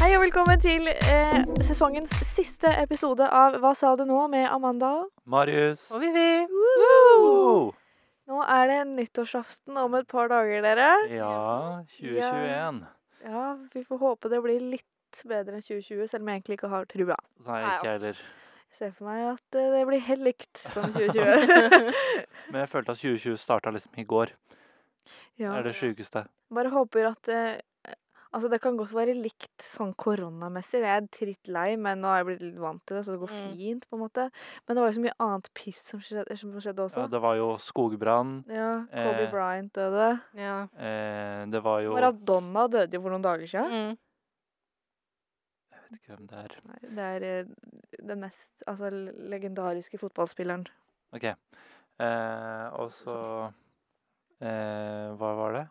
Hei og velkommen til eh, sesongens siste episode av Hva sa du nå? med Amanda. Marius. Og Vivi. Woo! Nå er det nyttårsaften om et par dager, dere. Ja, 2021. Ja, vi får håpe det blir litt bedre enn 2020, selv om jeg egentlig ikke har trua. Nei, Nei, ikke jeg altså. heller. Jeg ser for meg at eh, det blir helt likt som 2020. Men jeg følte at 2020 starta liksom i går. Det ja. er det sjukeste. Bare håper at eh, Altså, det kan godt være likt sånn koronamessig. Jeg er drittlei, men nå har jeg blitt litt vant til det, så det går Mm. fint, på en måte. Men det var jo så mye annet piss som skjedde, som skjedde også. Ja, det var jo skogbrann. Ja, Kobe Eh, Bryant døde. Ja. Eh, det var jo Jeg Maradona døde jo for noen dager siden. Mm. vet ikke hvem det er. Nei, det er eh, den mest altså, legendariske fotballspilleren. OK. Eh, og så eh, Hva var det?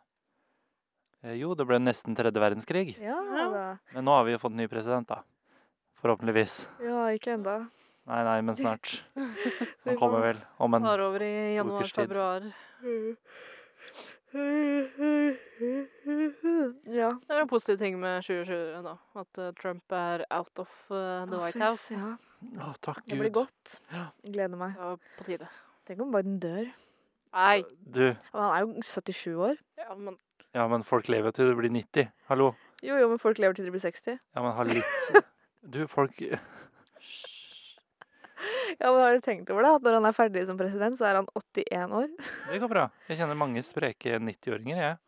Eh, jo, det ble nesten tredje verdenskrig. Ja Ja. da. Men nå har vi jo fått en ny president, da. Forhåpentligvis. Ja, ikke enda. Nei, nei, men snart. vi Han kommer får- vel om en Tar over i ukers tid. januar-februar. Ja. Det var en positiv ting med 2020, da. At eh, Trump er out of eh, the Å, White fy House. søren. Å, takk Det blir Gud. godt. Ja. Jeg Gleder meg. Det var på tide. Tenk om Biden dør. Nei. Du, Og han er jo 77 år. Ja, men ja, men folk lever jo til du blir 90. Hallo. Jo, jo, men folk lever til de blir 60. Ja, men ha litt Du, folk Det Ja, men Har du tenkt over det? At når han er ferdig som president, så er han 81 år. går bra. Jeg kjenner mange spreke 90-åringer, jeg.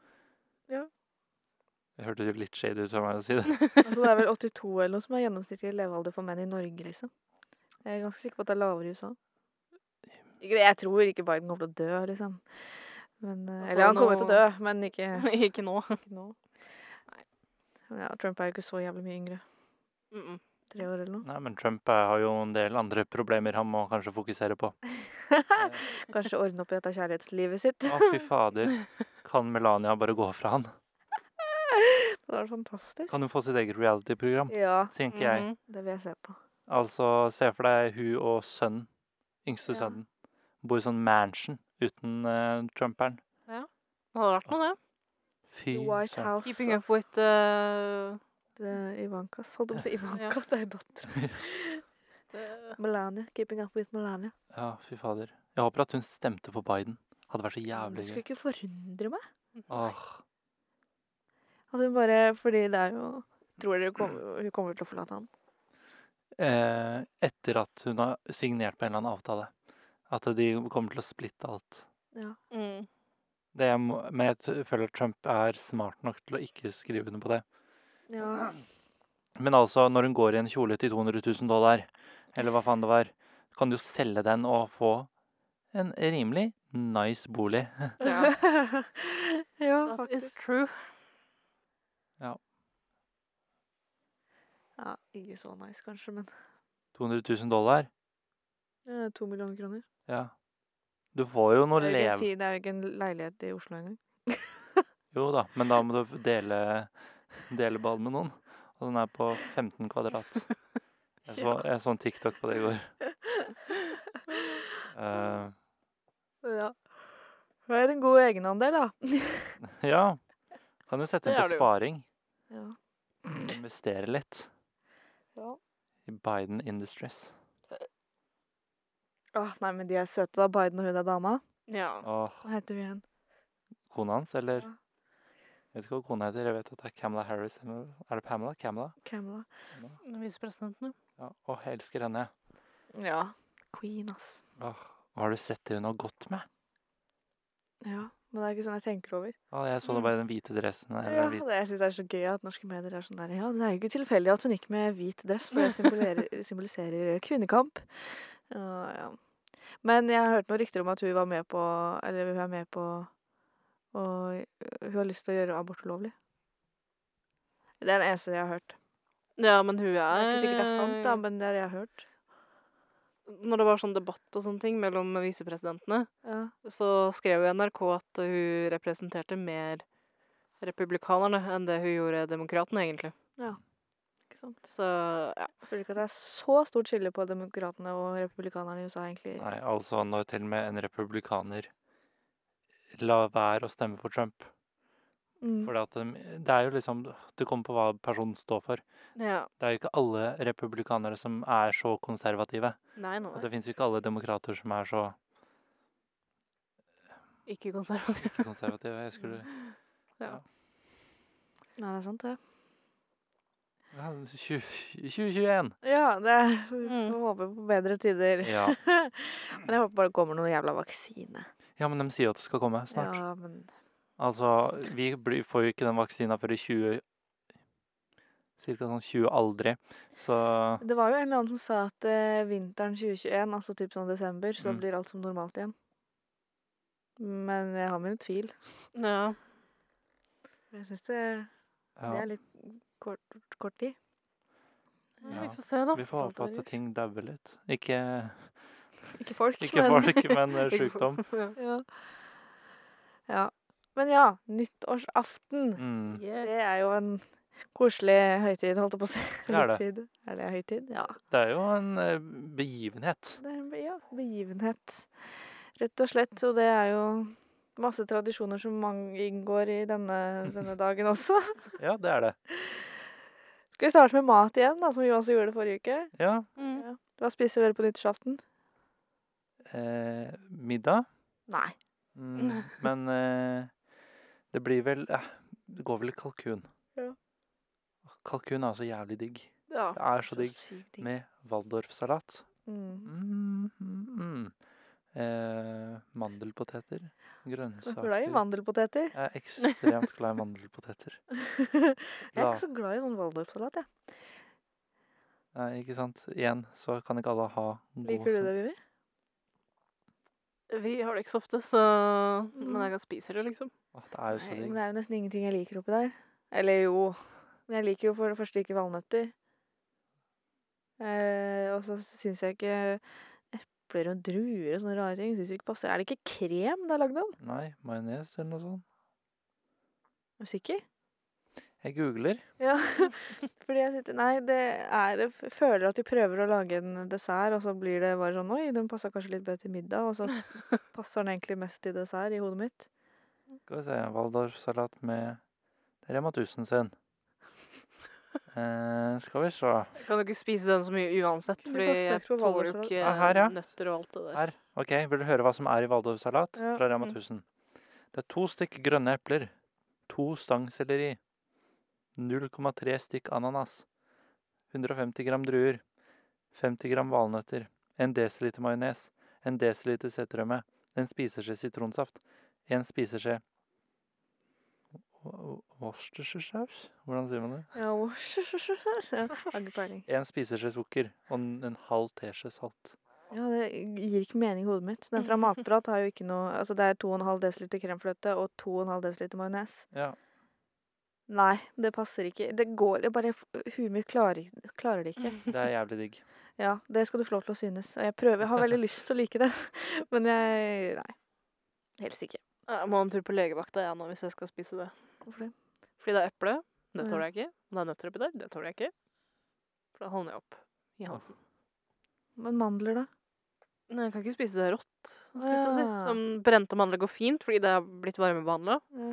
Ja. Det hørtes jo litt shady ut av meg å si det. Altså, det er vel 82 eller noe som er gjennomsnittlig levealder for menn i Norge, liksom. Jeg er ganske sikker på at det er lavere i USA. Ikke det, Jeg tror ikke Biden kommer til å dø, liksom. Men, eh, får eller han kommer til å dø, nå- men ikke, ikke nå. ikke nå. Men Ja, Trump er jo ikke så jævlig mye yngre. Mm -mm. Tre år eller noe. Nei, men Trump eh, har jo en del andre problemer han må kanskje fokusere på. Eh, Kanskje ordne opp i dette kjærlighetslivet sitt. Å, fy fader. Kan Melania bare gå fra han? Det hadde vært fantastisk. Kan hun få sitt eget reality-program? Ja, Tenker jeg. Mhm. det vil jeg se på. Altså, se for deg hun og sønnen. Yngste Ja. sønnen. Bor i sånn mansion uten eh, Trumperen. Det hadde vært noe, det. Fy The White søren. House Keeping up with eh, og eh, Ivankas. Holdt på å si Ivankas, det er jo dattera. det- Melania. Keeping up with Melania. Ja, fy fader. Jeg håper at hun stemte på Biden. Hadde vært så Det jævlig skulle gøy. ikke forundre meg. Åh, At hun bare Fordi det er jo Tror dere kom, hun kommer til å forlate han? eh, etter at hun har signert på en eller annen avtale. At de kommer til å splitte alt. Mm. Det jeg må, men jeg t- føler at Trump er smart nok til å ikke skrive under på det. Ja. Men altså, når hun går i en kjole til 200 000 dollar, eller hva faen det var, kan du jo selge den og få en rimelig nice bolig. Ja. ja, That is faktisk. true. Ja, ikke så nice, kanskje, men 200 000 dollar? eh, to millioner kroner. Ja. Du får jo noe Det er, jo ikke en leve... fi, det er jo ikke en leilighet i Oslo engang. Jo da, men da må du dele, dele ball med noen. Og den er på 15 kvadrat. Jeg så, jeg så en TikTok på det i går. Eh, Ja. Det er en god egenandel, da. ja. Kan jo sette Det inn på er det jo. sparing. Ja. Investere litt ja. i Biden Industries. Åh, nei, men de er søte, da. Biden og hun der dama. Ja. Og Hva heter hun igjen? kona hans, eller Ja. Jeg vet ikke hva kona heter. Jeg vet at det er Camilla Harris. Eller, er det Pamela? Camilla? Camilla. Visepresidenten, Ja. Åh, jeg elsker henne. Ja. Queen, ass. Åh, har du sett det hun har gått med? Ja. Men det er ikke sånn jeg tenker over. Åh, jeg så det Mm. bare i den hvite dressen. Eller Ja, den hvite det, jeg synes det er så gøy at norske medier er sånn der Ja, det er jo ikke tilfeldig at hun gikk med hvit dress, for det symboliserer, symboliserer kvinnekamp. Ja, ja. Men jeg har hørt noen rykter om at hun var med på Eller hun er med på Og hun har lyst til å gjøre abort ulovlig. Det er det eneste jeg har hørt. ja. Ja, men hun er Det er ikke sikkert det er sant, Eh. da, men det er det jeg har hørt. Når det var sånn debatt og sånne ting mellom visepresidentene, Ja. så skrev jo NRK at hun representerte mer republikanerne enn det hun gjorde demokratene, egentlig. Ikke sant? Så ja. Jeg føler ikke at det er så stort skille på demokratene og republikanerne i USA, egentlig. Nei, altså når til og med en republikaner la være å stemme på Trump. Mm. For det er jo liksom Det kommer på hva personen står for. ja. Det er jo ikke alle republikanere som er så konservative. Nei, nå Og det fins jo ikke alle demokrater som er så Ikke konservativ. ikke konservative. Jeg skulle Ja. Nei, det er sant, det. ja, 20- 2021! Ja, det er, vi Mm. får håpe på bedre tider. Ja. Men jeg håper bare det kommer noen jævla vaksine. ja, men de sier jo at det skal komme snart. Ja, men Altså, vi blir, får jo ikke den vaksina før i 20 Cirka sånn 20 aldri. Så Det var jo en eller annen som sa at eh, vinteren 2021, altså typ sånn desember, så Mm. blir alt som normalt igjen. Men jeg har mine tvil. ja. Jeg syns det, det ja, er litt kort, kort tid. Nei, Ja. Vi får se, da. vi får sant håpe det var at ting dauer litt. Ikke, Ikke folk, ikke folk, men eh, sykdom. Ja. ja. ja. Men ja, nyttårsaften. Mm. Yes. Det er jo en koselig høytid, holdt jeg på å si. Det er det. Høytid. Er det høytid? Ja. Det er jo en eh, begivenhet. Det er en be- ja, begivenhet, rett og slett. Og det er jo masse tradisjoner som mang- inngår i denne, denne dagen også. Ja, det er det. Skal vi starte med mat igjen, da, som vi også gjorde forrige uke? Ja. Mm. Hva spiser dere på nyttårsaften? Eh, middag. Nei. Mm, men eh, det blir vel eh, Det går vel i kalkun. Ja. Kalkun er så jævlig digg. Ja. Det er så digg. sykt digg. Med Waldorfsalat. Mm. Mm, mm, mm. Eh, mandelpoteter. Jeg er Grønnsaker. glad i mandelpoteter. Jeg er ekstremt glad i mandelpoteter. Jeg er La- ikke så glad i sånn waldorfsalat, jeg. Nei, Eh, ikke sant? Igjen så kan ikke alle ha god Liker du sånn- det, Vivi? Vi har det ikke så ofte, så Men jeg kan spise det, liksom. Åh, det er jo så Nei, Men digg. det er jo nesten ingenting jeg liker oppi der. Eller jo. Men jeg liker jo for det første ikke valnøtter. Eh, og så syns jeg ikke epler og druer og sånne rare ting synes jeg ikke passer. Er det ikke krem det er lagd av? Nei, majones eller noe sånt. Er du sikker? Jeg googler. Ja. Fordi jeg sitter Nei, det er jeg f- Føler at de prøver å lage en dessert, og så blir det bare sånn Oi, den passa kanskje litt bedre til middag, og så s- passer den egentlig mest til dessert i hodet mitt. Skal vi se. Waldorfsalat med Det er Rema 1000 sin. Eh, skal vi se. Jeg kan jo ikke spise den så mye uansett, Kunne fordi bare jeg søkt på tåler jo Waldorfsalat. ikke Ah, her, ja. nøtter og alt det der. Her. Ok, vil du høre hva som er i Waldorfsalat Ja, fra Rema mm. 1000? Det er to stykk grønne epler, to stang selleri, 0,3 stykk ananas, 150 gram druer, 50 gram valnøtter, en desiliter majones, en desiliter seterømme, en spiseskje sitronsaft, en spiseskje Wo- wo- Worcestershire-saus? Hvordan sier man det? Ja, og- ja, har ikke peiling. En spiseskje sukker og en, en halv teskje salt. Ja, det gir ikke mening i hodet mitt. Den fra Matprat har jo ikke noe Altså, det er 2,5 dl kremfløte og 2,5 dl majones. Ja, Nei, det passer ikke. Det går det bare Huet mitt klarer, ikke- klarer det ikke. det er jævlig digg. Ja, det skal du få lov til å synes. Og jeg prøver. Jeg har veldig lyst til å like det, men jeg Nei. Helst ikke. Jeg må en tur på legevakta jeg nå hvis jeg skal spise det. Hvorfor det? Fordi det er eple. Det Ja. tåler jeg ikke. Om det er nøtter oppi der, det tåler jeg ikke. For da holder jeg opp i halsen. Men mandler, da? Nei, jeg kan ikke spise det rått. Skulle jeg til å si. Ah. Som brente mandler går fint, fordi det har blitt varmebehandla. Ja.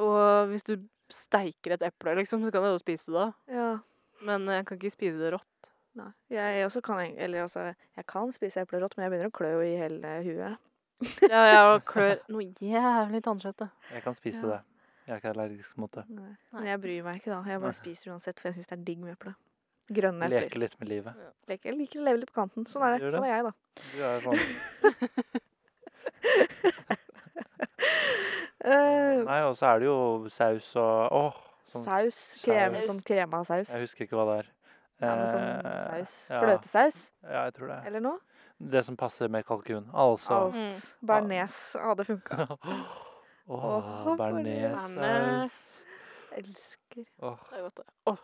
Og hvis du steiker et eple, liksom, så kan du jo spise det. ja. Men jeg kan ikke spise det rått. Nei. Jeg, jeg også kan eng- Eller altså, jeg kan spise eplerått, men jeg begynner å klø i hele huet. Ja, jeg klør noe jævlig tannkjøtt. jeg. Jeg kan spise Ja. det. Jeg er ikke allergisk mot det. Nei. Nei. Men jeg bryr meg ikke, da. Jeg Nei. bare spiser uansett, for jeg syns det er digg med eple. Grønne epler. Leke litt med livet. Lek- Jeg liker å leve litt på kanten. Sånn er Gjør det. Sånn er jeg, da. Du er sånn Eh, Nei, og så er det jo saus og Åh! Sånn, saus. Krem, saus. sånn krema saus. jeg husker ikke hva det er. Ja, men sånn Eh, saus. ja. Fløtesaus Ja, jeg tror det. eller noe. Det som passer med kalkun. Altså Alt. Mm. Bearnés hadde funka. Åh, Åh, bearnéssaus. bearnés. Elsker. Åh, Det er godt, det. Åh,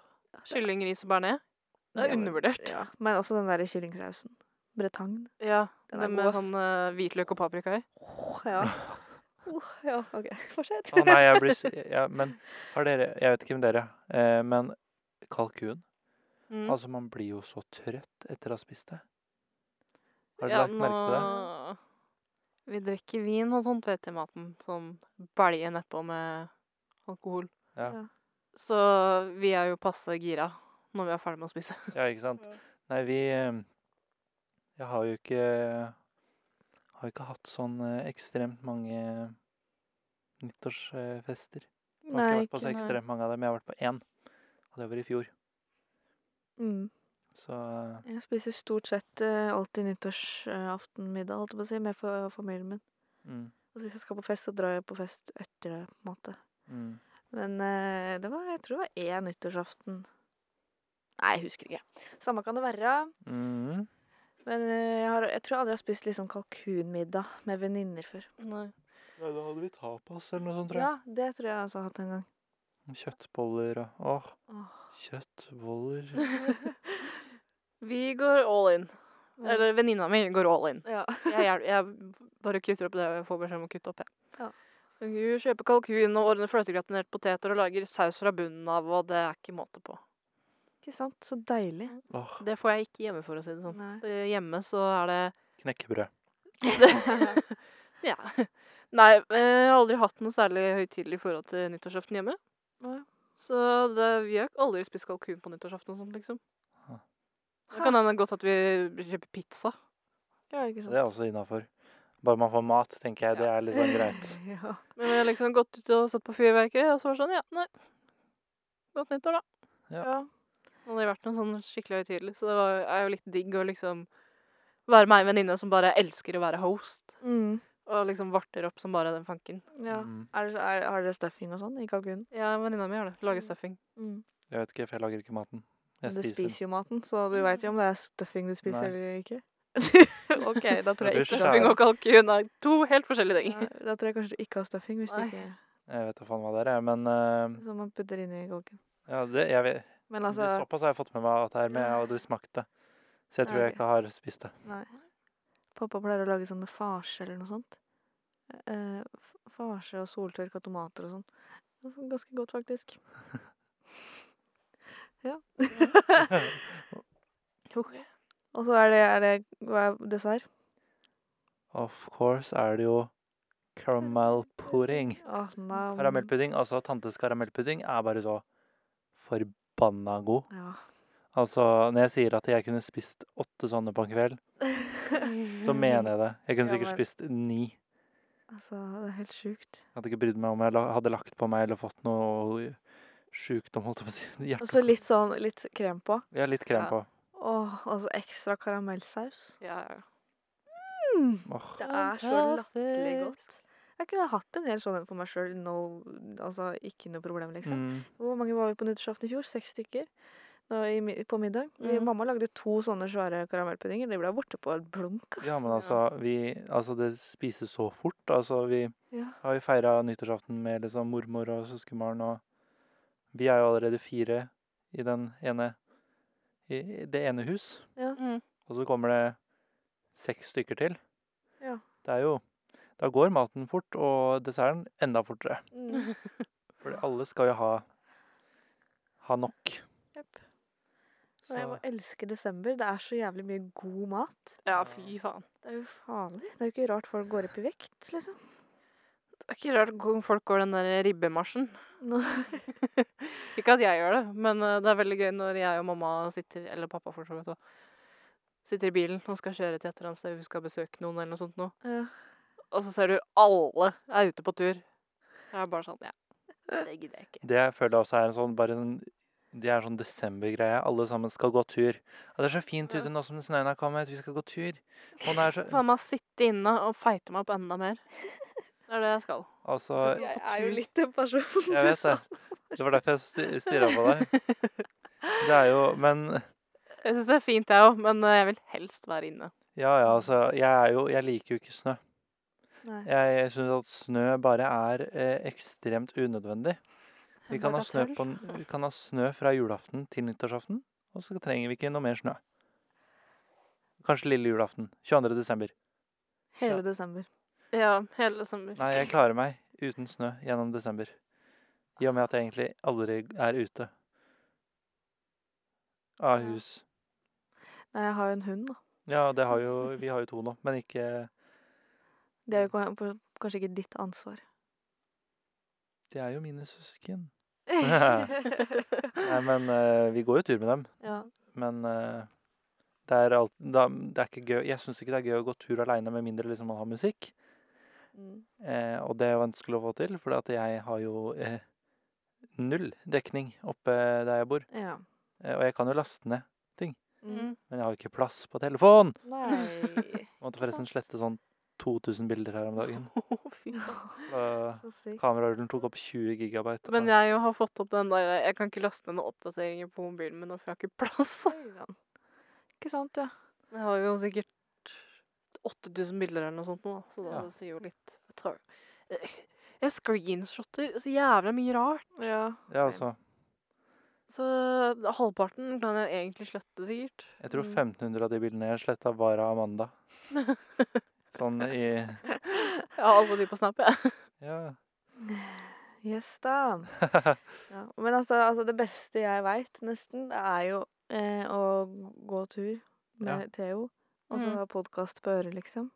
kylling, ris og bearnés. Det Ja, er men- undervurdert. Ja. Men også den der kyllingsausen. Bretagne. Ja, Den den, er med god, ass. sånn eh, hvitløk og paprika i. Åh, ja. Uh, ja, OK. Fortsett. Å nei, jeg blir s- ja, Men har dere Jeg vet ikke om dere, eh, men kalkun Mm. Altså, man blir jo så trøtt etter å ha spist det. Har du Ja, lagt merke til det? nå- Vi drikker vin og sånt vet jeg, i maten. Sånn belje nedpå med alkohol. Ja. Ja. Så vi er jo passe gira når vi er ferdig med å spise. Ja, ikke sant? Nei, vi eh, Jeg har jo ikke Har ikke hatt sånn eh, ekstremt mange nyttårsfester. Jeg har ikke vært på så ikke- nei. ekstremt mange av dem. Jeg har vært på én, og det var i fjor. Mm. Så eh, Jeg spiser stort sett eh, alltid nyttårsaftenmiddag, holdt jeg på å si, med fa- familien min. mm, Og så hvis jeg skal på fest, så drar jeg på fest etter det, på en måte. mm. Men eh, det var, jeg tror det var én nyttårsaften. Nei, jeg husker ikke. Samme kan det være. Mm. Men eh, jeg, har, jeg tror jeg aldri har spist liksom kalkunmiddag med venninner før. Nei. Nei, da hadde vi tapas eller noe sånt, tror jeg. Ja, det tror jeg altså har hatt en gang. Kjøttboller og Åh, Åh. kjøttboller. Vi går all in. Ja. Eller venninna mi går all in. Ja. Jeg, hjel- jeg bare kutter opp det jeg får beskjed om å kutte opp. Jeg. Ja. Hun kjøper kalkun og ordner fløtegratinerte poteter og lager saus fra bunnen av, og det er ikke måte på. Ikke sant? Så deilig. Åh, Det får jeg ikke hjemme, for å si det sånn. Nei. Eh, Hjemme så er det knekkebrød. Ja. Nei, eh, jeg har aldri hatt noe særlig høytidelig forhold til nyttårsaften hjemme. Nei. Så det, vi har aldri spist kalkun på nyttårsaften og sånt, liksom. Ah. Det kan hende godt at vi kjøper pizza. Ja, ikke sant. Det er også innafor. Bare man får mat, tenker jeg. Det er litt sånn greit. ja. Men vi har liksom gått ut og satt på fyrverkeri, og så var det sånn, ja, nei. Godt nyttår, da. Ja. Det hadde vært noe sånn skikkelig høytidelig, så det var, er jo litt digg å liksom være meg en venninne som bare elsker å være host, Mm. og liksom varter opp som bare den fanken. ja. Mm. Er, det- er, har dere stuffing og sånn i kalkunen? Ja, venninna mi gjør det. Mm. Lager stuffing. Mm. Jeg vet ikke, for jeg lager ikke maten. Jeg Men du spiser. spiser. jo maten, så du veit jo om det er stuffing du spiser Nei. eller ikke. OK, da tror jeg Du ikke Stuffing skjærer. og kalkun er to helt forskjellige ting. Nei, Da tror jeg kanskje du ikke har stuffing, hvis du Nei. ikke Jeg vet da faen hva det er, men eh, Som man putter inn i kalkunen. ja, det, jeg vet, Men altså det- Såpass har jeg fått med meg at det er med, og det smakte. Så jeg tror jeg Ok. ikke har spist det. Nei. Pappa pleier å lage sånn med farse eller noe sånt. Eh, f- farse og soltørka tomater og sånn. Det var Ganske godt, faktisk. ja. og så er det, er det Hva er dessert? Of course er det jo caramel pudding. Åh, nam. Karamellpudding, altså tantes karamellpudding, er bare så forbanna god. Ja. Altså, når jeg sier at jeg kunne spist åtte sånne på en kveld, så Mm. mener jeg det. Jeg kunne Ja, sikkert men- spist ni. Altså, det er helt sjukt. Jeg hadde ikke brydd meg om jeg la- hadde lagt på meg eller fått noe sjukdom, holdt jeg på å si. Og så Hjerte- litt sånn litt krem på. Ja, litt krem Ja. på. Åh, og så ekstra karamellsaus. Ja, ja. Åh, Det er så latterlig godt. Jeg kunne hatt en hel sånn en for meg sjøl. No, altså, ikke noe problem, liksom. Mm. Hvor mange var vi på nyttårsaften i fjor? Seks stykker da, i, mi- på middag. Vi, Mm. Mhm. mamma lagde to sånne svære karamellpuddinger. De ble borte på et blunk, ass. Ja, men Ja. altså, vi, altså det spises så fort. Altså, vi Ja. har jo feira nyttårsaften med liksom mormor og søskenbarn, og vi er jo allerede fire i den ene i det ene hus. Mm. Og så kommer det seks stykker til. Ja. Det er jo Da går maten fort, og desserten enda fortere. Mm. For alle skal jo ha ha nok. Jepp. Og Så Jeg bare elsker desember. Det er så jævlig mye god mat. ja, fy faen. Det er jo farlig. Det er jo ikke rart folk går opp i vekt, liksom. Det er ikke rart go- folk går den der ribbemarsjen. Nå. Ikke at jeg gjør det, men eh, det er veldig gøy når jeg og mamma sitter, eller pappa for så vidt også, sitter i bilen og skal kjøre til et eller annet sted, vi skal besøke noen eller noe sånt nå. Ja. Og så ser du alle er ute på tur. Jeg er bare sånn, ja, det gidder jeg ikke. Det jeg føler også er en sånn bare en, Det er sånn desembergreie. Alle sammen skal gå tur. Ja, det er så fint Ja. ute nå som snøen har kommet. Vi skal gå tur. Og det er så, Faen meg sitte inne og feite meg opp enda mer. Det er det jeg skal. altså Jeg på er jo tur. litt den personen. Jeg vet det. Det var derfor jeg stirra på deg. Det er jo Men Jeg synes det er fint jeg også, men eh, jeg vil helst være inne. ja, ja, altså. Jeg er jo Jeg liker jo ikke snø. Nei. Jeg syns at snø bare er eh, ekstremt unødvendig. Vi En kan, ha snø bagatell. på, n- vi kan ha snø fra julaften til nyttårsaften, og så trenger vi ikke noe mer snø. Kanskje lille julaften. 22. desember. Hele desember. Ja, hele sommer. Nei, jeg klarer meg uten snø gjennom desember. I og med at jeg egentlig aldri er ute. Av Ja. hus. Nei, jeg har jo en hund, da. Ja, det har jo, vi har jo to nå, men ikke Det er jo kan- på- kanskje ikke ditt ansvar. De er jo mine søsken. Nei, men eh, vi går jo tur med dem. ja. Men eh, det, er alt, da, det er ikke gøy. Jeg syns ikke det er gøy å gå tur aleine med mindre liksom, man har musikk. mm. Eh, og det er jo vanskelig å få til, for jeg har jo eh, null dekning oppe der jeg bor. ja. Eh, og jeg kan jo laste ned, Mm. Mm. men jeg har jo ikke plass på telefon! Nei. Måtte forresten Sant. slette sånn 2000 bilder her om dagen. Å, fy faen. Og Så sykt. kamerarullen tok opp 20 gigabyte. Men og- jeg jo har fått opp den der Jeg kan ikke laste ned noen oppdateringer på mobilen min, nå, for jeg har ikke plass. Oi, sann. Ikke sant, ja. Jeg har jo sikkert 8000 bilder eller noe sånt nå, da, så det Ja. sier jo litt Jeg tar eh, Jeg screenshotter så jævla mye rart. ja. ja, same. altså, Så halvparten kan jeg egentlig slette, sikkert. jeg tror Mm. 1500 av de bildene jeg sletta, var av Amanda. Sånn i Jeg har alle de på Snap, jeg. Ja. Yes da. Ja. Men altså, altså, det beste jeg veit, nesten, det er jo eh, å gå tur med Theo. Og så Mm. ha podkast på øret, liksom.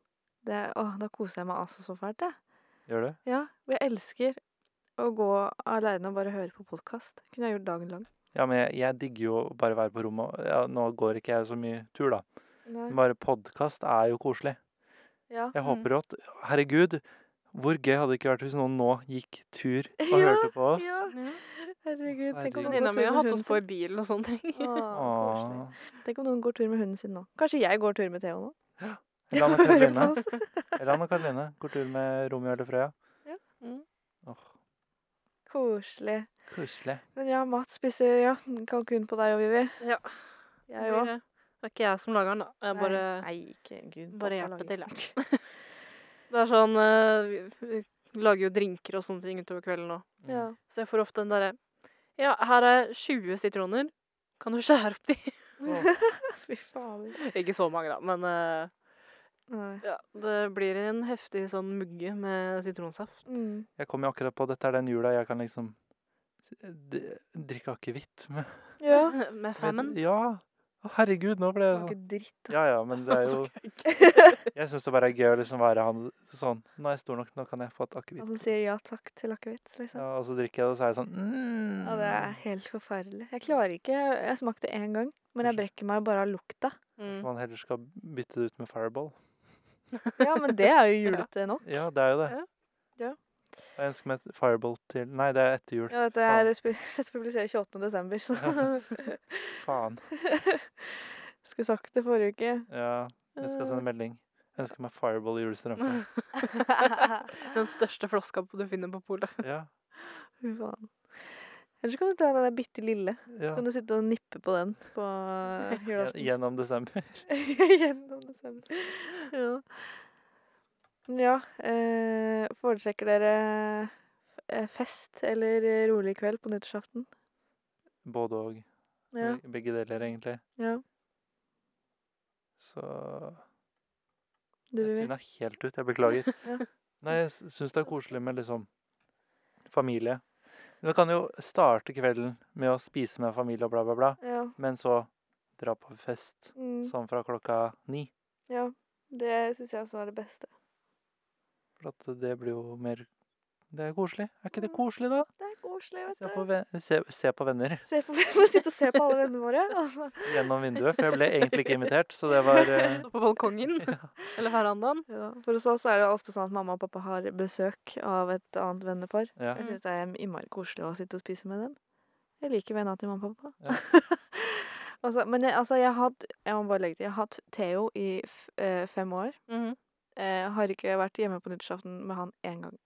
Det, åh, da koser jeg meg altså så fælt, jeg. Gjør du? Ja, og jeg elsker å gå aleine og bare høre på podkast. Kunne jeg gjort dagen lang. Ja, men jeg, jeg digger jo å bare være på rommet. og- Ja, nå går ikke jeg så mye tur, da. Men Bare podkast er jo koselig. Ja. Jeg Mm. håper jo at Herregud, hvor gøy hadde det ikke vært hvis noen nå gikk tur og Ja, hørte på oss? ja. Herregud, tenk om noen Venninna går mi tur har med hatt hunden oss på i sin. bil og sånne ting. Åh, koselig. Åh, Tenk om noen går tur med hunden sin nå. Kanskje jeg går tur med Theo nå. Eller Anna Hører på Karoline. oss. Eller Anna Karoline. Går tur med Romeo eller Frøya. Ja. Mm. Åh, Koselig. Koselig. Men ja, Mats spiser ja, kalkun på deg og Vivi. Ja. Jeg òg. Det er ikke jeg som lager den, da. Jeg bare, Nei, ikke Gud. bare pappa hjelper lager. til, jeg. Det er sånn eh, vi- Vi lager jo drinker og sånne ting utover kvelden òg. Mm. Ja. Så jeg får ofte den derre Ja, her er 20 sitroner. Kan du skjære opp de? Mm. Fy fader. Ikke så mange, da, men eh, Nei. ja, det blir en heftig sånn mugge med sitronsaft. Mm. Jeg kom jo akkurat på dette er den jula jeg kan liksom d- drikke akevitt med. Ja. Med famine. Ja. Å, Herregud, nå ble jeg Smaker sånn. dritt. Ja ja, men det er jo Jeg syns det bare er gøy å liksom være han sånn Nå er jeg stor nok, nå kan jeg få et At akevitt. han sier ja takk til akevitt, liksom. Ja, og så drikker jeg det, og så er jeg sånn mm. Ja, det er helt forferdelig. Jeg klarer ikke Jeg smakte én gang, men jeg brekker meg bare av lukta. Kanskje Mm. Man heller skal bytte det ut med Fireball. Ja, men det er jo julete nok. Ja, det er jo det. Ja. Jeg ønsker meg et Fireball til Nei, det er etter jul. Ja, dette er sp- dette publiseres 28. desember, så Faen. Skulle sagt det forrige uke. Ja, jeg skal Eh. sende melding. Jeg ønsker meg Fireball i julestrømpe. Den største flaska du finner på polet. Ja, Fy faen. Eller så kan du ta den der bitte lille. Så ja. kan du sitte og nippe på den på Ja, julaften. Gjennom desember. Gjennom desember. Ja. ja eh, foretrekker dere eh, fest eller eh, rolig kveld på nyttårsaften? Både og. Ja. Be- Begge deler, egentlig. ja. Så Du, Jeg Vivi? tvinna helt ut. Jeg beklager. Ja. Nei, jeg syns det er koselig med liksom familie. Man kan jo starte kvelden med å spise med familie og bla, bla, bla, Ja. men så dra på fest Mm, sånn fra klokka ni. ja. Det syns jeg også er det beste. For at det blir jo mer Det er koselig. Er ikke det Mm. koselig, da? Det er koselig, Se vet på, du. ven se, se på venner Se på, vi må sitte og se på alle vennene våre. Altså. gjennom vinduet. For jeg ble egentlig ikke invitert, så det var eh, Stå på balkongen eller verandaen. Ja, for hos oss er det ofte sånn at mamma og pappa har besøk av et annet vennepar. Ja. Jeg Mm. syns det er innmari koselig å sitte og spise med dem. Jeg liker vennene til mamma og pappa. altså, men jeg, altså, jeg har hatt Jeg må bare legge til. Jeg har hatt Theo i f eh, fem år. Mhm. Eh, har ikke vært hjemme på nyttårsaften med han én gang.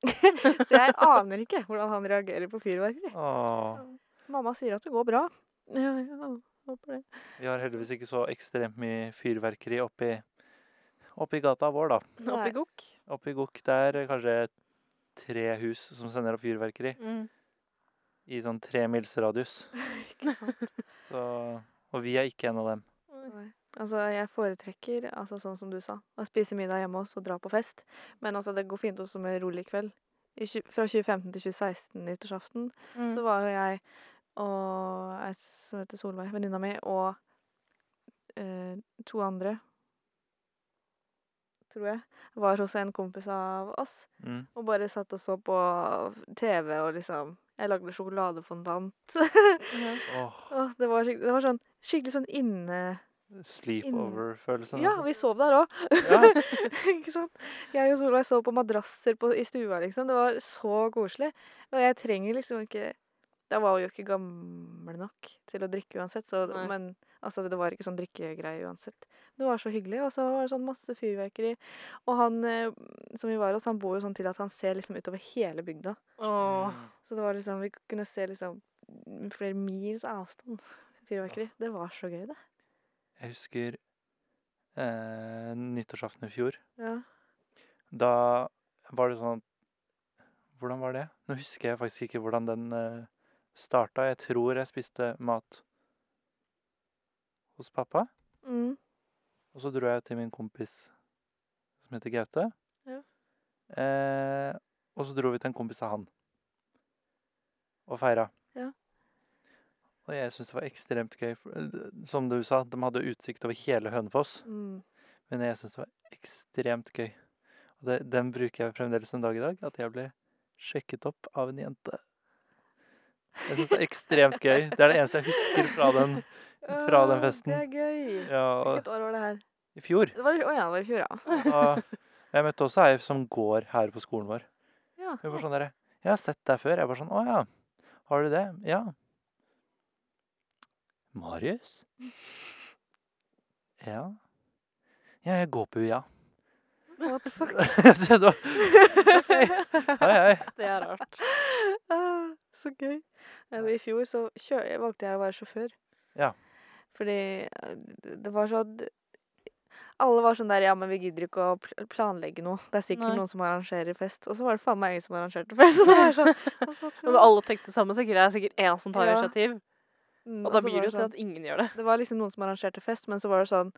Så jeg aner ikke hvordan han reagerer på fyrverkeri. Åh. Mamma sier at det går bra. Ja, ja, håper det. Vi har heldigvis ikke så ekstremt mye fyrverkeri oppi, oppi gata vår, da. Oppi gokk. Oppi Gokk der er kanskje tre hus som sender opp fyrverkeri Mm. i sånn tre mils radius. Ikke sant? Så, og vi er ikke en av dem. Nei. Altså, jeg foretrekker, altså sånn som du sa, å spise middag hjemme hos og dra på fest. Men altså, det går fint også med rolig kveld. I, tju- fra 2015 til 2016 nyttårsaften så Mm. var jo jeg og ei som heter Solveig, venninna mi, og eh, to andre, tror jeg, var hos en kompis av oss. Mm. Og bare satt og så på TV og liksom Jeg lagde sjokoladefondant. Ja. Åh, Åh, det, var skikkelig, det var sånn skikkelig sånn inne... Sleepover-følelsen. Ja, altså. vi sov der òg, ja. ikke sant? Jeg og Solveig sov på madrasser på, i stua, liksom. Det var så koselig. Og jeg trenger liksom ikke Da var vi jo ikke gamle nok til å drikke uansett, så Nei. Men altså, det var ikke sånn drikkegreie uansett. Det var så hyggelig, og så var det sånn masse fyrverkeri. Og han eh, som vi var hos, han bor jo sånn til at han ser liksom utover hele bygda. Åh. Så det var liksom, vi kunne se liksom flere mils avstand fyrverkeri. Det var så gøy, det. Jeg husker eh, nyttårsaften i fjor. Ja. Da var det sånn Hvordan var det? Nå husker jeg faktisk ikke hvordan den eh, starta. Jeg tror jeg spiste mat hos pappa. Mm. Og så dro jeg til min kompis som heter Gaute. Ja. Eh, og så dro vi til en kompis av han. Og feira. Ja. Og jeg syns det var ekstremt gøy. for- eh, Som du sa, de hadde utsikt over hele Hønefoss. Mm. Men jeg syns det var ekstremt gøy. Og det, den bruker jeg fremdeles en dag i dag. At jeg ble sjekket opp av en jente. Jeg syns det er ekstremt gøy. Det er det eneste jeg husker fra den. Fra den Åh, festen. Det er gøy. Ja, og Hvilket år var det her? I fjor. Det var, å ja, det var i fjor, ja. Og jeg møtte også ei som går her på skolen vår. ja. Hun var sånn derre Jeg har sett deg før. Jeg var sånn Å ja. Har du det? Ja. Marius? Ja. Ja, jeg går på UiA. What the fuck? Så det var- Hei, hei. Det er rart. Ah, så gøy. Nei, men I fjor så kjø jeg valgte jeg å være sjåfør. Ja. Fordi eh, det- det var sånn Alle var sånn der Ja, men vi gidder ikke å pl- planlegge noe. Det er sikkert Nei. noen som arrangerer fest. Og så var det faen meg ingen som arrangerte fest. Og det var sånn, hva sa du? Og alle tenkte det samme, sikkert. Det er sikkert én som tar Ja. initiativ. Mm, Og da så blir var det jo sånn- til at ingen gjør det. Det var liksom noen som arrangerte fest, men så var det sånn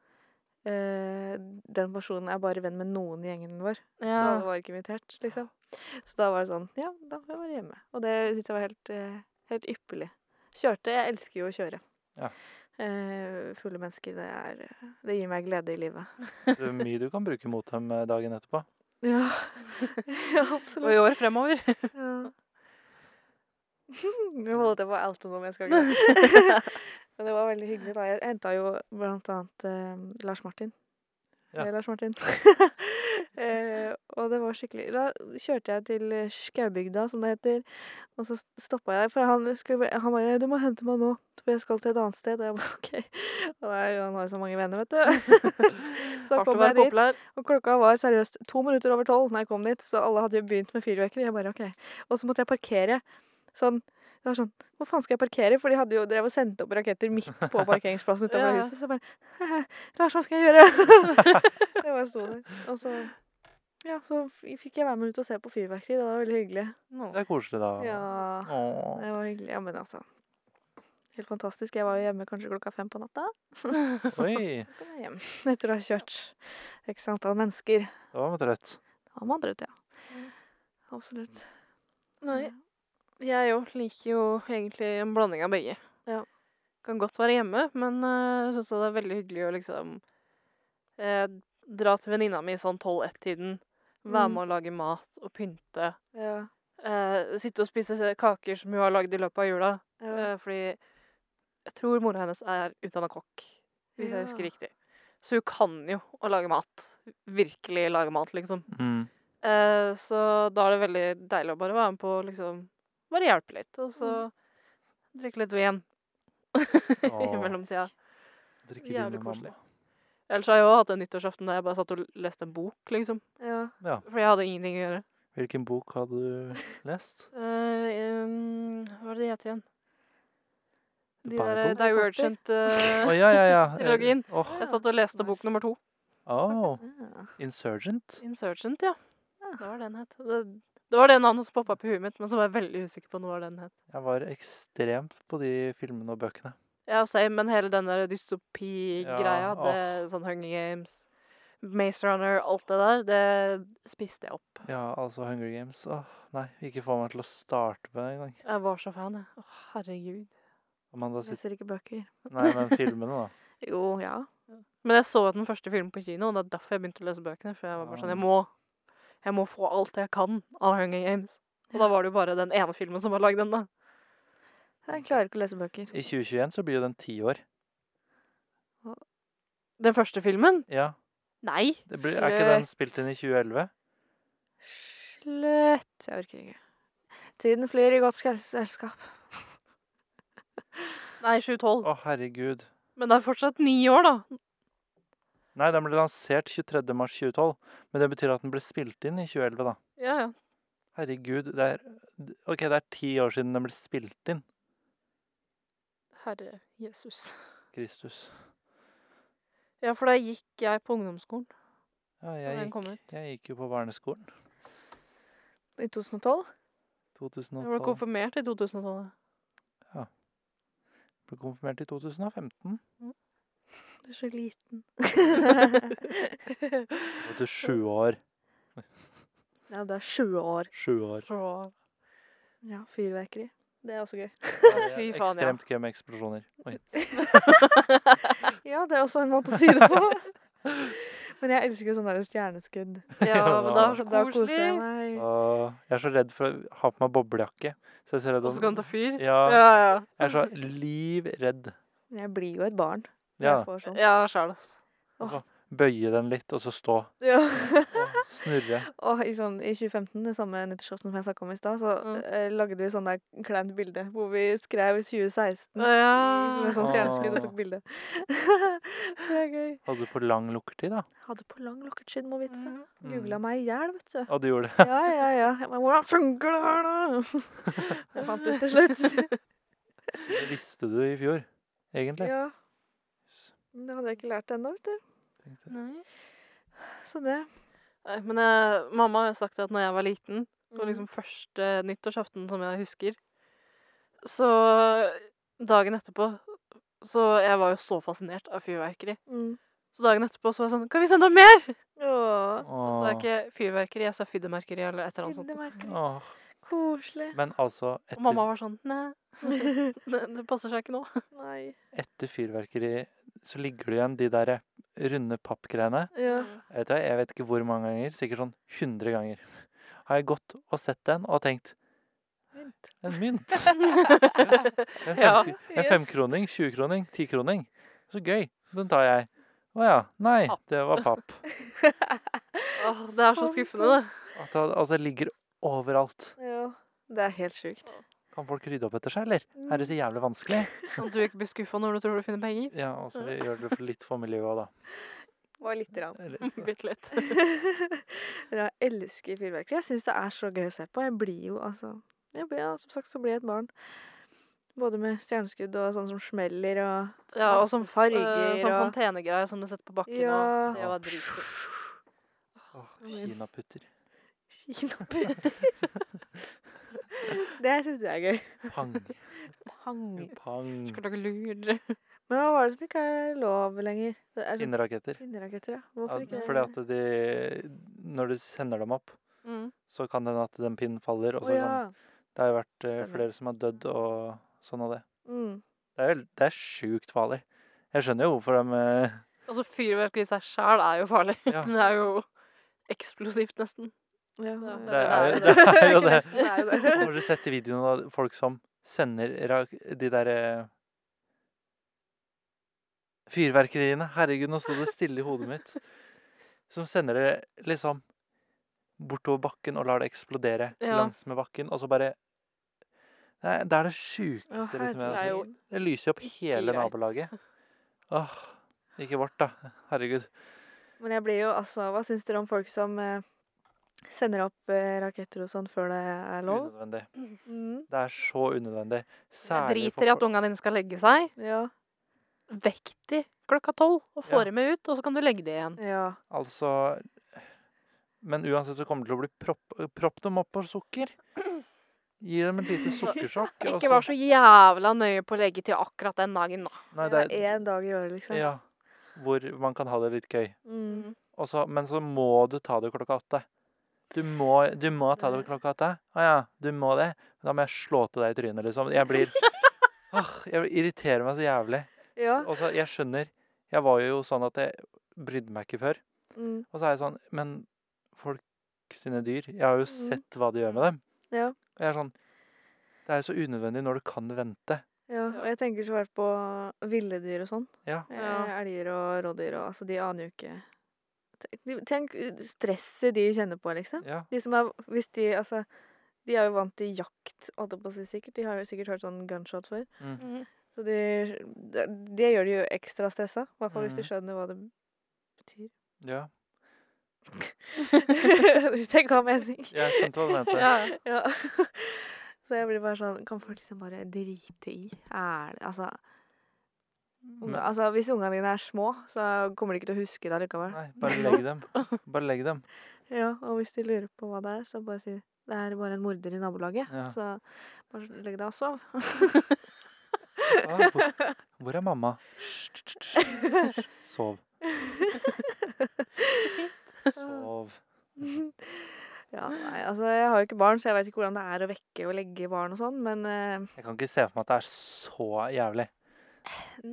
eh, Den personen er bare venn med noen i gjengen vår, så alle var ikke invitert, liksom. Så da var det sånn Ja, da får jeg være hjemme. Og det syntes jeg var helt, eh, helt ypperlig. Kjørte Jeg elsker jo å kjøre. Ja. Eh, fulle mennesker, det er eh, Det gir meg glede i livet. Det er mye du kan bruke mot dem eh, dagen etterpå. Ja, ja Og i absolutt. år fremover. Ja. Nå holdt jeg på å oute noen, men jeg skal ikke Men det var veldig hyggelig. da. Jeg henta jo blant annet eh, Lars Martin. Ja. Eh, Lars Martin. eh, og det var skikkelig Da kjørte jeg til eh, Skaubygda, som det heter. Og så stoppa jeg der, for han, skulle, bare- han bare 'Du må hente meg nå, for jeg skal til et annet sted.' Og jeg bare 'OK'. Og det er, jo- han har jo så mange venner, vet du. så Hardt å kom være jeg dit, populær. og klokka var seriøst to minutter over tolv da jeg kom dit, så alle hadde jo begynt med fyrverkeri. Jeg bare, ok. Og så måtte jeg parkere. Sånn, det var sånn, hvor faen skal jeg parkere? For de hadde jo drevet og sendt opp raketter midt på parkeringsplassen utenfor Ja. huset. Så jeg bare, Lars, hva skal jeg gjøre? det var jeg sto der. Og så, ja, så f- fikk jeg være med ut og se på fyrverkeri. Det var veldig hyggelig. Nå. Det er koselig, da. Ja, Åh. det var hyggelig. Ja, men altså, helt fantastisk. Jeg var jo hjemme kanskje klokka fem på natta. Oi, Så kom jeg hjem etter å ha kjørt x antall mennesker. da var man trøtt. Da var man drøtt, ja. Mm. Absolutt. Nei. Jeg òg liker jo egentlig en blanding av begge. Ja. Kan godt være hjemme, men eh, jeg syns det er veldig hyggelig å liksom eh, dra til venninna mi sånn 12-1-tiden. Være Mm. med å lage mat og pynte. Ja. Eh, sitte og spise kaker som hun har lagd i løpet av jula. Ja. Eh, fordi jeg tror mora hennes er utdanna kokk, hvis Ja. jeg husker riktig. Så hun kan jo å lage mat. Virkelig lage mat, liksom. Mm. Eh, så da er det veldig deilig å bare være med på å liksom Bare hjelpe litt, og så drikke litt vin i Åh. mellomtida. Drikke vin Jævlig med koselig. mamma. Ellers har jeg òg hatt en nyttårsaften der jeg bare satt og leste en bok, liksom. Ja. For jeg hadde ingenting å gjøre. Hvilken bok hadde du lest? Eh, em, hva er det de heter igjen? De Bible? der eh, Harry Potter? Divergent Å eh, ja, ja, ja. Trilogien. Eh, Åh, Jeg satt og leste bok Nice. nummer to. Åh, Ah. Insurgent. Insurgent, ja. Ja. Det var det den het. Det, det var det navnet som poppa opp i huet mitt, men så var jeg veldig usikker på hva den het. Jeg var ekstremt på de filmene og bøkene. Ja, same, men hele den der dystopi-greia, Ja, det sånn Hunger Games, Maze Runner, alt det der, det spiste jeg opp. Ja, altså Hunger Games. Åh, nei, ikke få meg til å starte med det engang. Jeg var så fan, jeg. Å, herregud. Amanda Jeg sitter ser ikke bøker. Nei, men filmene, da. Jo, ja. Men jeg så den første filmen på kino, og det er derfor jeg begynte å lese bøkene. For jeg var bare sånn, jeg må, jeg må få alt jeg kan av Hunger Games. Og da var det jo bare den ene filmen som var lagd ennå. Jeg klarer ikke å lese bøker. I 2021 så blir jo den ti år. Den første filmen? Ja. Nei! Det blir, er ikke den Slutt. spilt inn i 2011? Slutt! Jeg orker ikke. Tiden flyr i godt skels- selskap. Nei, 2012. Å, herregud. Men det er fortsatt ni år, da. Nei, den ble lansert 23. mars 2012. Men det betyr at den ble spilt inn i 2011, da. Ja, ja. Herregud, det er OK, det er ti år siden den ble spilt inn. Herre Jesus. Kristus. Ja, for da gikk jeg på ungdomsskolen. Ja, Når jeg den kom gikk, jeg gikk jo på barneskolen. I 2012? Jeg ble 2012. konfirmert i 2012. Ble konfirmert i 2015. Du er så liten. Og til sju år. ja, du er 20 år. Sju år. Så Ja, Fyrverkeri. Det er også gøy. Fy faen, ja. Ekstremt gøy med eksplosjoner. Oi. Ja, det er også en måte å si det på. Men jeg elsker jo sånne der stjerneskudd. Ja, men det er så Da koser jeg koselig. meg. Åh, jeg er så redd for å ha på meg boblejakke. Så jeg er så redd Og så kan om du ta fyr. Ja, Ja, ja. jeg er så livredd. Men Jeg blir jo et barn. når Ja. Jeg får sånn. Ja, sjæl, ass. Åh. Bøye den litt, og så stå. Ja. Åh, Snurre. Og i, sånn, I 2015, det samme nyttårsaften som jeg snakka om i stad, så Mm. eh, lagde vi sånn der kleint bilde hvor vi skrev 2016 Å, med Ja. sånn stjerneskudd og Åh. tok bilde. det er gøy. Hadde du for lang lukkertid, da? Hadde på lang lokketid, må vitse. Mhm. Mm. Googla meg i hjel, vet du. Og du gjorde det? Ja, ja, ja. Jeg bare, Hvordan funker det her, da? Jeg fant ut til slutt. Det visste du i fjor, egentlig. ja. Men Det hadde jeg ikke lært ennå, vet du. Tenkte jeg. Nei. Så det. Nei, Men eh, mamma har jo sagt at når jeg var liten, på Mm. liksom første nyttårsaften som jeg husker, så dagen etterpå Så jeg var jo så fascinert av fyrverkeri. Mm. Så dagen etterpå så var jeg sånn Kan vi sende mer?! Åh. Så det Åh. er ikke fyrverkeri, jeg sa fiddemerkeri eller et eller annet sånt. Fiddemerkeri. Åh. Koselig. Men altså, Og etter, mamma var sånn Nei, det, det passer seg ikke nå. Nei. etter fyrverkeri så ligger det igjen de der runde pappgreiene. Ja. Vet du hva, jeg vet ikke hvor mange ganger, sikkert sånn 100 ganger, har jeg gått og sett den og tenkt Mynt. En mynt! En, fem, Ja. en Yes. femkroning, tjuekroning, tikroning. Så gøy! Den tar jeg. Å ja. Nei, Papp. det var papp. Åh, det er så Sånn. skuffende, det. At det, at det ligger overalt. Ja. Det er helt sjukt. Kan folk rydde opp etter seg, eller? Er det så jævlig vanskelig? Sånn at du ikke blir skuffa når du tror du finner penger. Ja, og så gjør det for litt for miljøet òg, da. Var lite grann. Eller- Bitte litt. Men jeg elsker fyrverkeri. Jeg syns det er så gøy å se på. Jeg blir jo altså jeg blir, ja, Som sagt så blir jeg et barn. Både med stjerneskudd og sånn som smeller og Ja, og Masse sånn farger farger og Sånn og- fontenegreie som du setter på bakken. Ja. Og det var dritkult. Åh, men- Kinaputter. Kinaputter. det syns du er gøy. Pang, Pang. pang. Skulle lage lur. Men hva var det som ikke er lov lenger? Det er sånn Pinneraketter. pinneraketter, ja. Ja, Hvorfor ikke? fordi at de Når du sender dem opp, Mm. så kan det hende at den pinnen faller. Og Å så ja. kan Det har jo vært eh, Stemmer. flere som har dødd og sånn av det. Mm. Det er, jo- det er sjukt farlig. Jeg skjønner jo hvorfor de eh, Altså, fyrverkeri i seg sjæl er jo farlig. Ja. Det er jo eksplosivt, nesten. Ja, Det Det er jo det det. Er jo Ikke det. nesten, det er jo det. Når du setter videoen av folk som sender rak de der eh, Fyrverkeriene. Herregud, nå sto det stille i hodet mitt. Som sender det liksom bortover bakken og lar det eksplodere Ja. langs med bakken, og så bare Det er det, er det sjukeste Å, liksom, jeg Det har er sett. jo herregud. Det lyser jo opp Ikke hele greit. nabolaget. Åh, ikke vårt, da. Herregud. Men jeg blir jo altså Hva syns dere om folk som eh, sender opp eh, raketter og sånn før det er lov? Unødvendig. Mm. Det er så unødvendig. Jeg Særlig driter i at folk- ungene dine skal legge seg. Ja. Vekk de klokka tolv og Ja. få dem med ut, og så kan du legge det igjen. ja. Altså Men uansett så kommer det til å bli propp, propp dem opp på sukker. Gi dem et lite sukkersjokk. og Ikke vær så jævla nøye på å legge til akkurat den dagen, da. Nei, det det er én dag i året, liksom. er Ja. Hvor man kan ha det litt gøy. Mm. Og så- men så må du ta det klokka åtte. Du må, du må ta det klokka åtte. Å ja, du må det. Da må jeg slå til deg i trynet, liksom. Jeg blir Åh, Jeg irriterer meg så jævlig. ja. Og så, jeg skjønner Jeg var jo sånn at jeg brydde meg ikke før. Mm. Og så er jeg sånn Men folk sine dyr Jeg har jo Mhm. sett hva de gjør med dem. Ja. Og jeg er sånn Det er jo så unødvendig når du kan vente. ja. Og jeg tenker så fælt på ville dyr og sånn. Ja. Eh, Elger og rådyr og altså, de aner jo ikke Tenk- Tenk eh, stresset de kjenner på, liksom. Ja. De som er Hvis de Altså, de er jo vant til jakt, holdt jeg på å si sikkert. De har jo sikkert hørt sånn gunshot før. Mm. Så de, det, det gjør de jo ekstra stressa. I hvert fall hvis du Mhm. skjønner hva det betyr. ja. hvis det ga mening. Jeg skjønte hva du mente. Ja. Ja. Så jeg blir bare sånn Kan folk liksom bare drite i? Er det Altså, unge, Men- altså Hvis ungene dine er små, så kommer de ikke til å huske det allikevel. Nei, bare legg dem. Bare legg dem. Ja, og hvis de lurer på hva det er, så bare si det er bare en morder i nabolaget. Ja. Så bare legg deg og sov. Ah, hvor, hvor er mamma? Hysj, hysj, hysj, hysj. Sov. Sov. Ja, nei, altså Jeg har jo ikke barn, så jeg vet ikke hvordan det er å vekke og legge barn og sånn, men eh, Jeg kan ikke se for meg at det er så jævlig.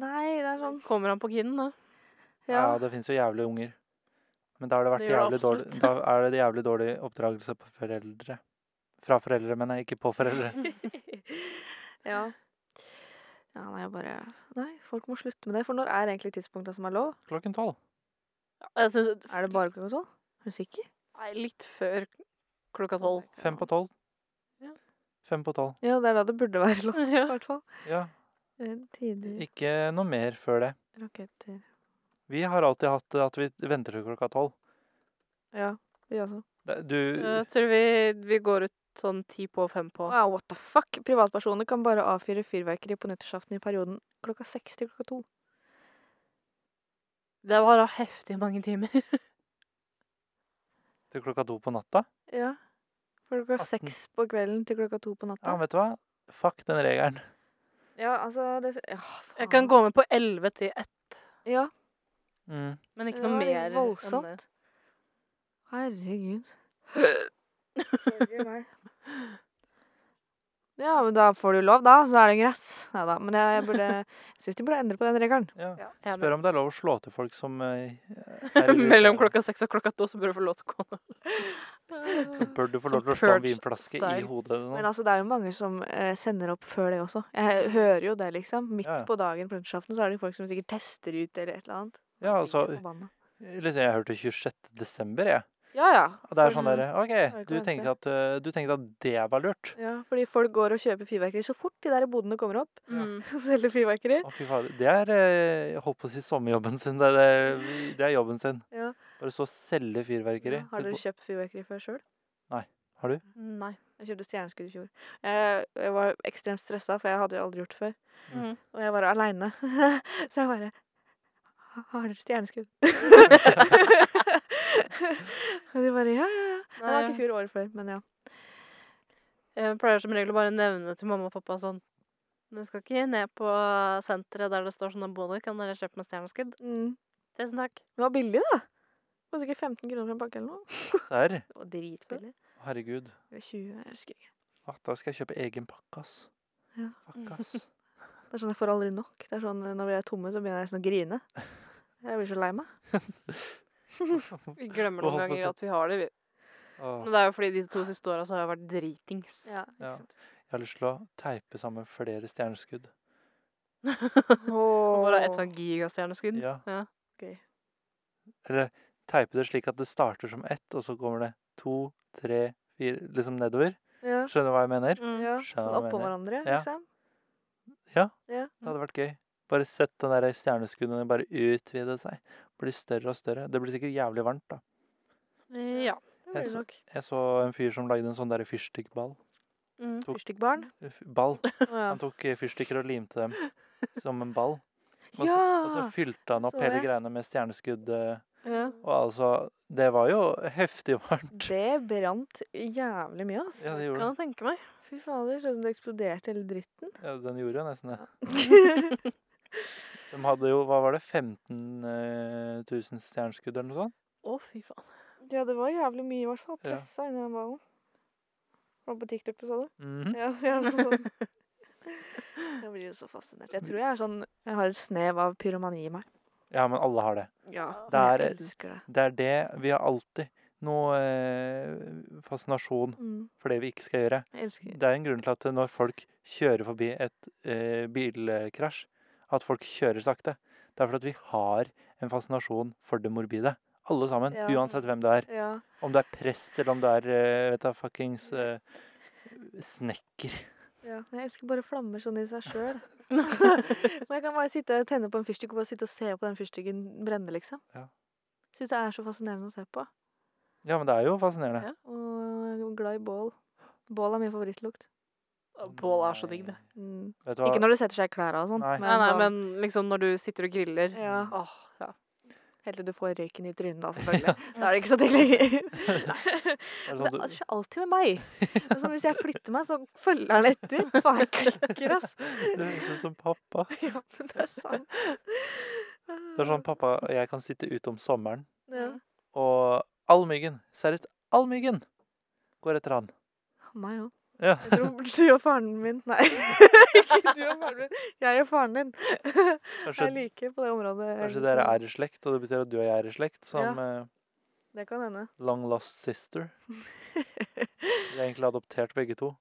Nei, det er sånn Kommer han på kiden, da? Ja, Ja. det fins jo jævlige unger. Men da, har det vært Det gjør jævlig det dårlig, da er det jævlig dårlig oppdragelse på foreldre. Fra foreldre, mener jeg. Ikke på foreldre. Ja. Ja, nei, jeg bare Nei, folk må slutte med det. For når er egentlig tidspunktet som er lov? Klokken tolv. Jeg synes, Er det bare klokka tolv? Er du sikker? Nei, litt før klokka tolv. Fem på tolv. Ja. Fem på tolv. Ja, det er da det burde være lov, i Ja. hvert fall. Ja, Eh, Tider, ikke noe mer før det. raketter Vi har alltid hatt det at vi venter til klokka tolv. Ja, vi også. Det- Du Jeg tror vi, vi går ut sånn ti på fem på. Wow, what the fuck? Privatpersoner kan bare avfyre fyrverkeri på nyttårsaften i perioden klokka seks til klokka to. Det var da heftig mange timer. til klokka to på natta? Ja. Fra klokka 18. seks på kvelden til klokka to på Ja, natta. vet du hva? Fuck den regelen. Ja, altså det, ja, Jeg kan gå med på elleve til ett, Ja. Mm. men ikke Det noe var mer. enn voldsomt. det. Herregud. Sorry, meg. Ja, men da får du lov, da. Så er det greit. Nei da. Men jeg, burde, jeg syns de burde endre på den regelen. Ja. Ja, jeg er med. Spør om det er lov å slå til folk som eh, er i Mellom utlandet. klokka seks og klokka to så bør du få lov til å Mm. gå. Bør du få Som lov til å slå en purge vinflaske i style. hodet eller noe? Men altså, det er jo mange som eh, sender opp før det også. Jeg hører jo det, liksom. Midt Ja, ja. på dagen på lunsjaften så er det folk som sikkert tester ut eller et eller annet. Ja, Jeg blir altså- forbanna. Liksom, jeg hørte 26. desember, jeg. Ja, ja. Og det er Folk- sånn derre OK, ikke du vente. tenkte, at, eh, du tenkte at det var lurt. Ja, fordi folk går og kjøper fyrverkeri så fort de der bodene kommer opp. Mm. Og selger fyrverkeri. Å, fy fader. Det er eh, Jeg holdt på å si sommerjobben sin. Det er, det- det er jobben sin. Ja. Bare så å selge fyrverkeri. Ja, har Det dere går- kjøpt fyrverkeri før sjøl? Nei. Jeg kjøpte stjerneskudd i fjor. Jeg, jeg var ekstremt stressa, for jeg hadde jo aldri gjort det før. Mm. Og jeg var aleine. Så jeg bare "Ha- Har dere stjerneskudd? og de bare ja, ja, ja. Det var ikke i fjor, året før, men ja. Jeg pleier som regel å bare nevne til mamma og pappa sånn Dere skal ikke ned på senteret der det står sånne boller. Kan dere kjøpe meg stjerneskudd? Mm. Tusen takk. Det var billig, da. Det var sikkert 15 kroner for en pakke eller noe. Serr? Det var dritbillig. Herregud. Eller 20, jeg husker ikke. Ah, da skal jeg kjøpe egen pakke, ass. Ja. Fuck, ass. Det er sånn jeg får aldri nok. Det er sånn Når vi er tomme, så begynner jeg nesten å grine. Jeg blir så lei meg. Vi Og holdt på glemmer noen å ganger si- at vi har det. vi. Åh, Men det er jo fordi de to siste åra så har jeg vært dritings. ikke Ja. sant. jeg har lyst til å teipe sammen flere stjerneskudd. Og Bare et Åh. sånn gigastjerneskudd. Ja. Ja. Gøy. Eller teipe det slik at det starter som ett, og så kommer det to, tre, fire Liksom nedover. Ja. Skjønner du hva jeg mener? Mm. Ja, Skjønner sånn hva jeg oppå mener. hverandre, Ja. liksom. Ja. Ja. Det hadde vært gøy. Bare sett den der stjerneskuddene bare utvide seg. Blir større og større. Det blir sikkert jævlig varmt, da. ja. Det Jeg blir så- nok. Jeg så en fyr som lagde en sånn derre fyrstikkball. Mm. tok- Fyrstikkbarn. F- Ball. Å, ja. Han tok eh, fyrstikker og limte dem som en ball. Og så, og så ja! fylte han opp så hele jeg. greiene med stjerneskudd. eh, ja. Og altså Det var jo heftig varmt. Det brant jævlig mye, ass. Ja, det Kan gjorde det. jeg tenke meg. Fy fader, så ut som det eksploderte hele dritten. Ja, den gjorde jo nesten det. De hadde jo, hva var det, 15 eh, 000 stjerneskudd eller noe sånt? Å, fy faen. ja, det var jævlig mye, i hvert fall. Ja. Pressa inn i den ballen. Var det på TikTok du så det? Mhm. Ja, ja sånn. Jeg blir jo så fascinert. Jeg tror jeg er sånn Jeg har et snev av pyromani i meg. Ja, men alle har det. Ja, Det men er jeg et- elsker det. Det er det vi har alltid noe eh, fascinasjon Mm, for det vi ikke skal gjøre. jeg elsker Det er en grunn til at når folk kjører forbi et eh, bilkrasj, at folk kjører sakte. Det er fordi at vi har en fascinasjon for det morbide. Alle sammen, Ja. uansett hvem du er. Ja. Om du er prest, eller om du er eh, vet du, fuckings eh, snekker. ja. Men Jeg elsker bare flammer sånn i seg sjøl. Men jeg kan bare sitte og tenne på en fyrstikk og bare sitte og se på den fyrstikken brenne, liksom. Ja. Syns det er så fascinerende å se på. Ja, men det er jo fascinerende. Ja. Og jeg er glad i bål. Bål er min favorittlukt. Bål er så digg, det. Mm. Vet du hva? Ikke når det setter seg i klærne og sånn. Nei. Nei, nei, sånn- men liksom når du sitter og griller. ja. Åh, ja. Helt til du får røyken i trynet, da, selvfølgelig. Da er det ikke så digg lenger. Er det Men sånn Det du- er skjer alltid med meg. Men sånn, hvis jeg flytter meg, så følger han etter. Faen, jeg klikker, ass. Du høres ut sånn som pappa. Ja, men det er sant. Det er sånn pappa og jeg kan sitte ute om sommeren, Ja. og all myggen, seriøst, all myggen går etter han. Meg òg. Ja. Jeg tror du og faren min Nei, ikke du og faren min. Jeg og faren din Kanskje, er like på det området. kanskje dere er i slekt, og det betyr at du og jeg er i slekt, som eh, Det kan hende. long lost sister. Vi er egentlig adoptert begge to.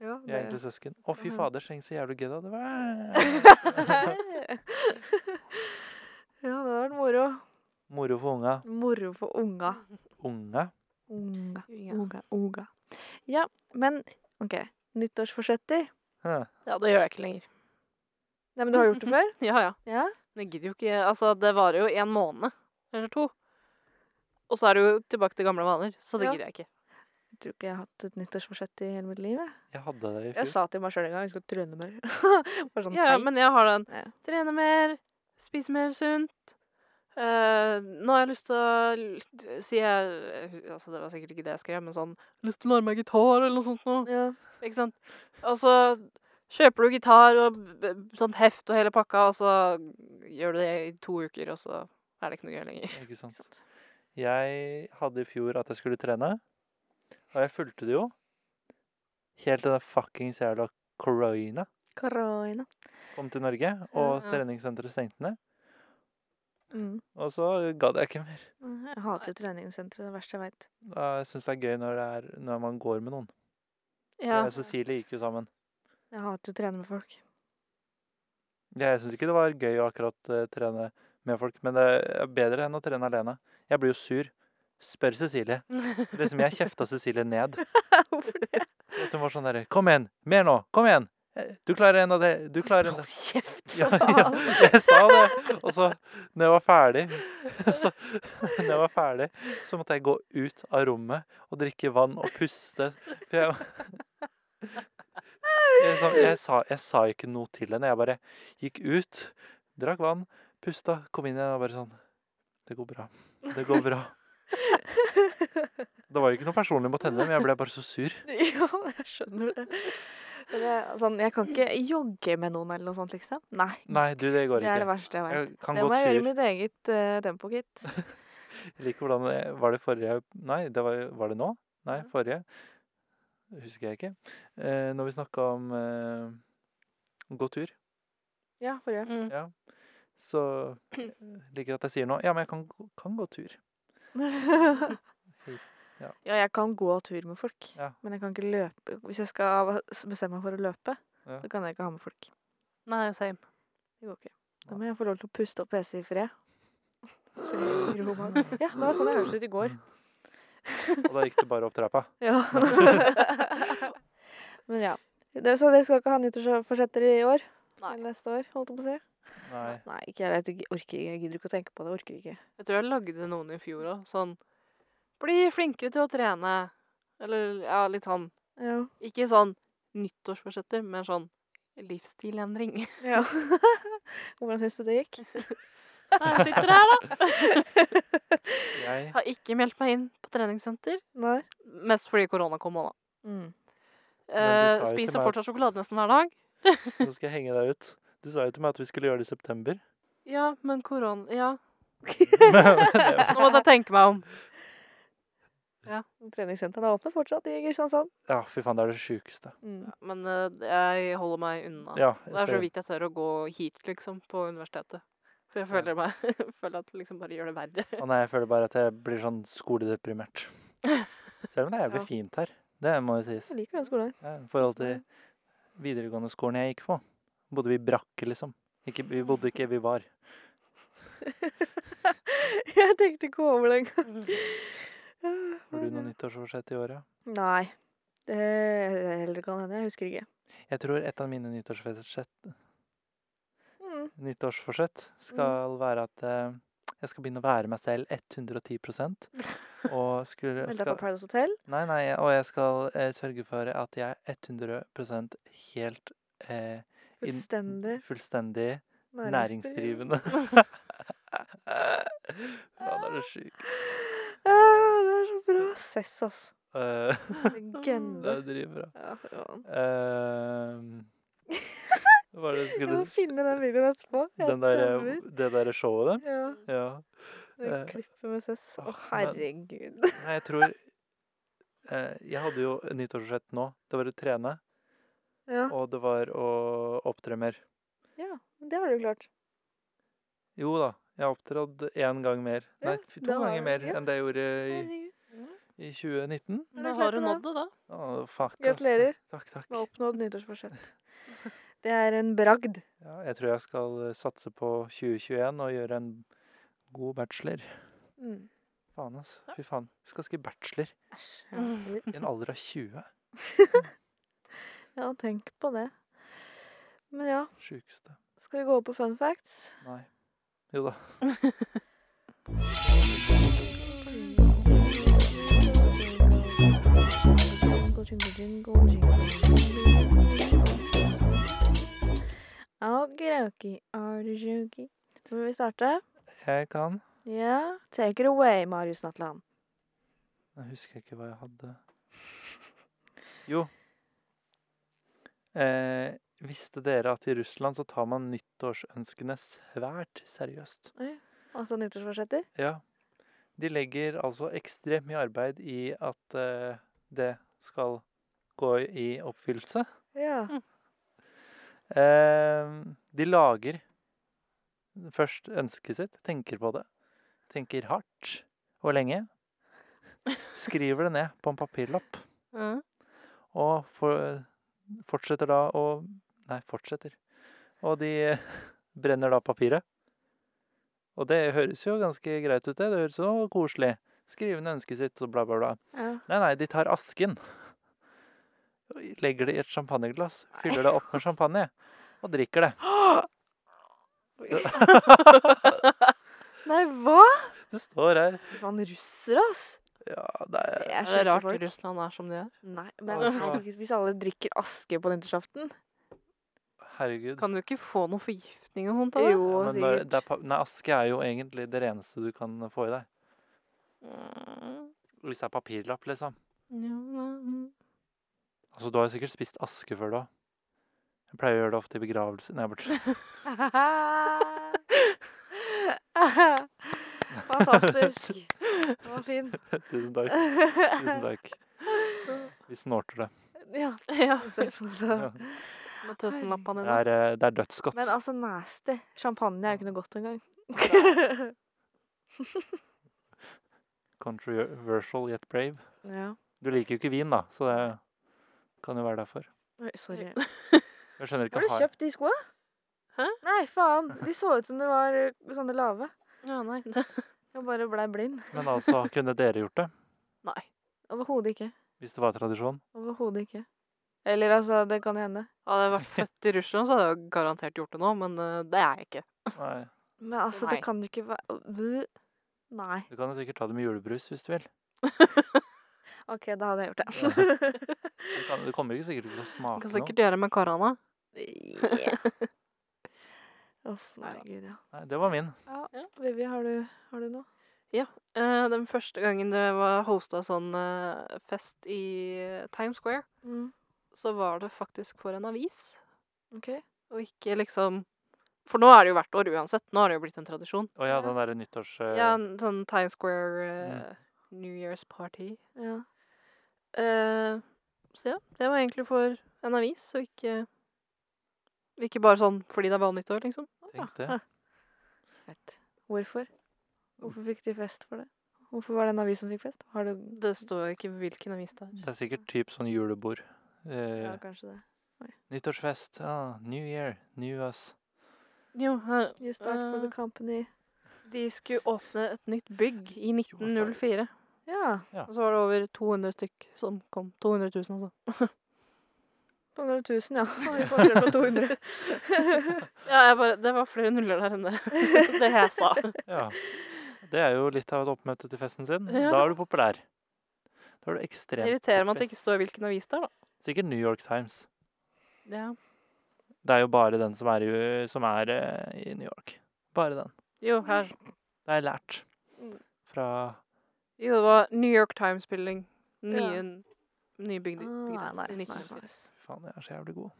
Ja, Vi er egentlig søsken. Å, fy Mhm. fader, tenk så jævlig gøy det hadde vært. ja, det hadde vært moro. Moro for unga. Moro for unga. Unge? Unga, Ja. unga, unga. Ja, men OK. Nyttårsforsetter? Hæ. ja, det gjør jeg ikke lenger. Nei, men du har gjort det før? Ja, ja. Ja? Men jeg gidder jo ikke Altså, det varer jo en måned eller to. Og så er det jo tilbake til gamle vaner, så det Ja. gidder jeg ikke. Jeg tror ikke jeg har hatt et nyttårsforsett i hele mitt liv. Jeg, Jeg hadde det i jeg fjor. sa til meg sjøl en gang jeg skal trøne mer. Bare sånn Ja, ja, teit. men jeg har den. Ja. Trene mer, spise mer sunt. Eh, nå har jeg lyst til å l- si jeg, altså Det var sikkert ikke det jeg skrev, men sånn Lyst til å lære meg gitar, eller noe sånt noe. ja. Ikke sant? Og så kjøper du gitar og b- b- sånn heft og hele pakka, og så gjør du det i to uker, og så er det ikke noe gøy lenger. Ikke sant. Jeg hadde i fjor at jeg skulle trene, og jeg fulgte det jo. Helt til den fuckings jævla corona Corona. kom til Norge, og Ja. treningssenteret stengte ned. Mm. Og så gadd jeg ikke mer. Jeg hater jo treningssentre. Det er det verste jeg veit. Og Jeg syns det er gøy når, det er, når man går med noen. Ja. Jeg og Cecilie gikk jo sammen. Jeg hater jo å trene med folk. Jeg syns ikke det var gøy å akkurat eh, trene med folk, men det er bedre enn å trene alene. Jeg blir jo sur. Spør Cecilie. Det er som jeg kjefta Cecilie ned. Hvorfor det? At hun var sånn derre Kom igjen! Mer nå! Kom igjen! Eh, Du klarer en av det! Du klarer en Hold av kjeft, Ja, for ja, faen! jeg sa det. Og så, når jeg var ferdig, så, når jeg var ferdig, så måtte jeg gå ut av rommet og drikke vann og puste. For jeg, jeg, sa- jeg, sa, jeg sa ikke noe til henne. Jeg bare gikk ut, drakk vann, pusta, kom inn igjen og bare sånn Det går bra. Det går bra. Det var jo ikke noe personlig mot henne, men jeg ble bare så sur. Ja, jeg skjønner det. Men jeg, sånn, jeg kan ikke jogge med noen eller noe sånt, liksom. Nei. Nei, du, det går Det er det ikke. verste jeg Jeg veit. kan Det gå må jeg gjøre i tur. mitt eget eh, tempo, gitt. Jeg liker hvordan det- Var det forrige Nei, det var, var det nå? Nei, Ja. forrige. Husker jeg ikke. Eh, når vi snakka om eh, gå tur, Ja, forrige. Mm. så jeg liker at jeg sier nå Ja, men jeg kan, gå- kan gå tur. Mm. Ja. Ja, jeg kan gå tur med folk, Ja. men jeg kan ikke løpe. Hvis jeg skal bestemme meg for å løpe, Ja. så kan jeg ikke ha med folk. Nei, same. Det går ikke. Da må jeg få lov til å puste opp PC i fred. Fred i ro og mag. Ja, det var sånn jeg hørtes ut i går. Og da gikk det bare opp trappa. Ja. men ja. Det, så dere skal ikke ha nyttårsforsetter i år? Nei. Eller neste år, holdt jeg på å si? Nei. Nei, ikke jeg, vet ikke, orker ikke. Jeg gidder ikke å tenke på det. Orker ikke. Jeg tror jeg lagde noen i fjor òg. Sånn Bli flinkere til å trene. Eller ja, litt sånn. Ja. Ikke sånn nyttårsforsetter, men sånn livsstilendring. ja. Hvordan syns du det gikk? Nei, jeg sitter her, da. Jeg Har ikke meldt meg inn på treningssenter. Nei? Mest fordi korona kom òg, da. Mm. Men du Eh, sa jo til spiser meg- fortsatt sjokolade nesten hver dag. Nå skal jeg henge deg ut. Du sa jo til meg at vi skulle gjøre det i september. Ja, men korona Ja. Men- Nå måtte jeg tenke meg om. Treningssenteret er åpne fortsatt i Kristiansand. ja, fy faen, det er det sjukeste. Mm. Men eh, jeg holder meg unna. Ja, jeg Det er så ser- vidt jeg tør å gå hit, liksom, på universitetet. For jeg føler meg føler at det liksom bare gjør det verre. Å nei, jeg føler bare at jeg blir sånn skoledeprimert. Selv om det er jævlig Ja. fint her. Det må jo sies. Jeg liker den skolen her. Ja, I forhold til videregående skolen jeg gikk på, bodde vi i brakke, liksom. Ikke, vi bodde ikke, vi var. Jeg tenkte ikke over den engang. Har du noe nyttårsforsett i året? Nei. Det heller kan hende. Jeg husker ikke. Jeg tror et av mine nyttårsforsett, Mm. nyttårsforsett skal være at eh, jeg skal begynne å være meg selv 110 og skulle, Meld deg på skal, Paradise Hotel. Nei, nei, og jeg skal eh, sørge for at jeg er 100 helt eh, inn- Fullstendig fullstendig næringsdrivende. næringsdrivende. Faen, det er så sjukt. Ah, det er så bra. Sess, ass. Eh, det Legende. er dritbra. Ja, fy faen. Ehm, Hva var det du jeg må skulle finne den videoen etterpå. Jeg den der, eh, drømmer. Det derre showet deres? ja, Ja. det eh, klippet med Sess. Å, åh, men- herregud. Nei, jeg tror eh, Jeg hadde jo nyttårsforsett nå. Det var å trene, Ja, og det var å opptre mer. ja, det har du klart. Jo da, jeg har opptrådt én gang mer. Ja, Nei, f- to da har ganger du- mer ja. enn det jeg gjorde i, Herregud. i 2019. Har du Da klart har du det da? nådd det, da. Å, fuck, ass. Gratulerer Takk, med takk. oppnådd nyttårsforsett. Det er en bragd. Ja, jeg tror jeg skal eh, satse på 2021 og gjøre en god bachelor. Mm. Faen, ass. Fy faen. Jeg skal skrive bachelor Æsj. Ja. i en alder av 20. ja, tenk på det. Men ja, Sjukeste. skal vi gå over på fun facts? Nei. Jo da. Jingle, jingle, jingle, jingle. Okidoki, okidoki. Hvor vil vi starte? Jeg kan. Ja, take it away, Marius Natland. Jeg husker ikke hva jeg hadde. Jo. Eh, visste dere at i Russland så tar man nyttårsønskene svært seriøst? Altså nyttårsforsetter. Ja. De legger altså ekstremt mye arbeid i at eh, det skal gå i oppfyllelse. Ja. Ehm, de lager først ønsket sitt, tenker på det. Tenker hardt og lenge. Skriver det ned på en papirlapp. Ja. Og for, fortsetter da å Nei, fortsetter. Og de brenner da papiret. Og det høres jo ganske greit ut, det. Det høres jo koselig. Skrive ned ønsket sitt og bla, bla, bla. ja. Nei, nei, de tar asken. Legger det i et champagneglass. Fyller det opp med champagne. Og drikker det. Nei, hva? Det står her. Faen, russer, ass. Ja, det er Jeg Er det skjønner rart folk. Russland er som de er? Nei, men Å, herregud, hvis alle drikker aske på nyttårsaften Herregud. Kan du ikke få noe forgiftning og sånt? av det? Jo, Ja, men når, det er, sikkert. pa- nei, aske er jo egentlig det reneste du kan få i deg. Mm, Hvis det er papirlapp, liksom. Ja, nei, mm. Altså, du har jo sikkert spist aske før, da. Jeg pleier å gjøre det ofte i begravelser. Nei, bortsett. Fantastisk. Den var fin. Tusen takk. Tusen takk. Vi snorter det. Ja. ja. altså. Med tøssenlappene Det dine. er, eh, det er dødsgodt. Men altså, nasty. Champagne er jo ikke noe godt engang. Controversial yet brave. Ja. Du liker jo ikke vin, da, så det kan jo være derfor. Oi, sorry. Jeg skjønner ikke Har du har- kjøpt de skoa? Hæ? Nei, faen. De så ut som det var eh, sånne lave. Ja, nei. Jeg bare blei blind. Men altså, kunne dere gjort det? nei. Overhodet ikke. Hvis det var tradisjon? Overhodet ikke. Eller altså, det kan jo hende. Hadde jeg vært født i Russland, så hadde jeg garantert gjort det nå, men eh, det er jeg ikke. Nei. Men altså, det Nei. kan jo ikke være Bø. Nei. Du kan jo sikkert ta det med julebrus hvis du vil. OK, da hadde jeg gjort det. Du, kan, du kommer jo sikkert ikke til å Du smake kan noe. sikkert gjøre det med karana. Yeah. Uff, nei, gud, ja. Nei, det var min. Vivi, har du, har du noe? Eh, den første gangen det var hosta sånn eh, fest i Times eh, Square, så var det faktisk for en avis. Mm, Ok. Og ikke liksom For nå er det jo hvert år uansett. Nå har det jo blitt en tradisjon. Å ja, den derre nyttårs... eh, Ja, en sånn Times Square eh, New Year's Party. Ja. Eh, så ja, det var egentlig for en avis, og ikke Ikke bare sånn fordi det er vanlig nyttår, liksom. Tenk det. Fett. Hvorfor? Hvorfor fikk de fest for det? Hvorfor var det en avis som fikk fest? Har du Det står ikke hvilken avis det er. Det er sikkert typ sånn julebord. Eh, Ja, kanskje det. Nyttårsfest. Ah, new year. New us. Jo, her. You start for the Eh. company. De skulle åpne et nytt bygg i 1904. Ja. Og så var det over 200 stykk som kom. 200 000, altså. 200 000, ja. Og vi får se på 200. Ja, jeg bare, det var flere nuller der enn det, det jeg sa. Ja. Det er jo litt av et oppmøte til festen sin. Ja. Da er du populær. Da er du ekstremt Det irriterer meg at det ikke poppis. står hvilken avis det er, da. Sikkert New York Times. Ja. Det er jo bare den som er i, som er, eh, i New York. Bare den. Jo, her. Det har jeg lært Mm. fra Jo, det var New York Times Building. Nye, Ja. nye bygd. Ah, nice, nice, nice. nice. Faen, jeg er så jævlig god.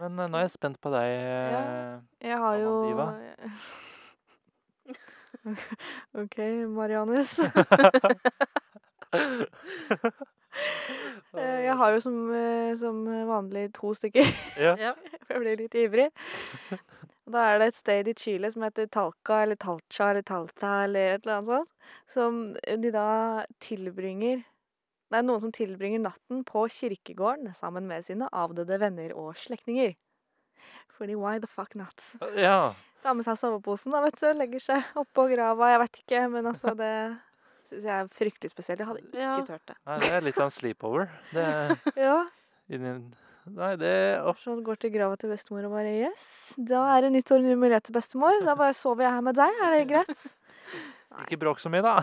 Men eh, nå er jeg spent på deg. eh, Jeg har jo Amanda OK, Marianus. Eh, Jeg har jo som, eh, som vanlig to stykker, ja. Ja. for jeg blir litt ivrig. Og Da er det et sted i Chile som heter Talca eller Talcha eller Talta eller et eller annet sånt, som eh, de da tilbringer Det er noen som tilbringer natten på kirkegården sammen med sine avdøde venner og slektninger. Fordi why the fuck not? ja. Tar med seg soveposen, da, vet du. Legger seg oppå grava. Jeg vet ikke, men altså det syns jeg er fryktelig spesielt. Jeg hadde ikke Ja. tørt det. Nei, det er litt av en sleepover. Det er Ja. inni Nei, det Å, Så han går til grava til bestemor og bare Yes, da er det nytt år, nye muligheter, bestemor. Da bare sover jeg her med deg. Er det greit? Ikke bråk så mye, da.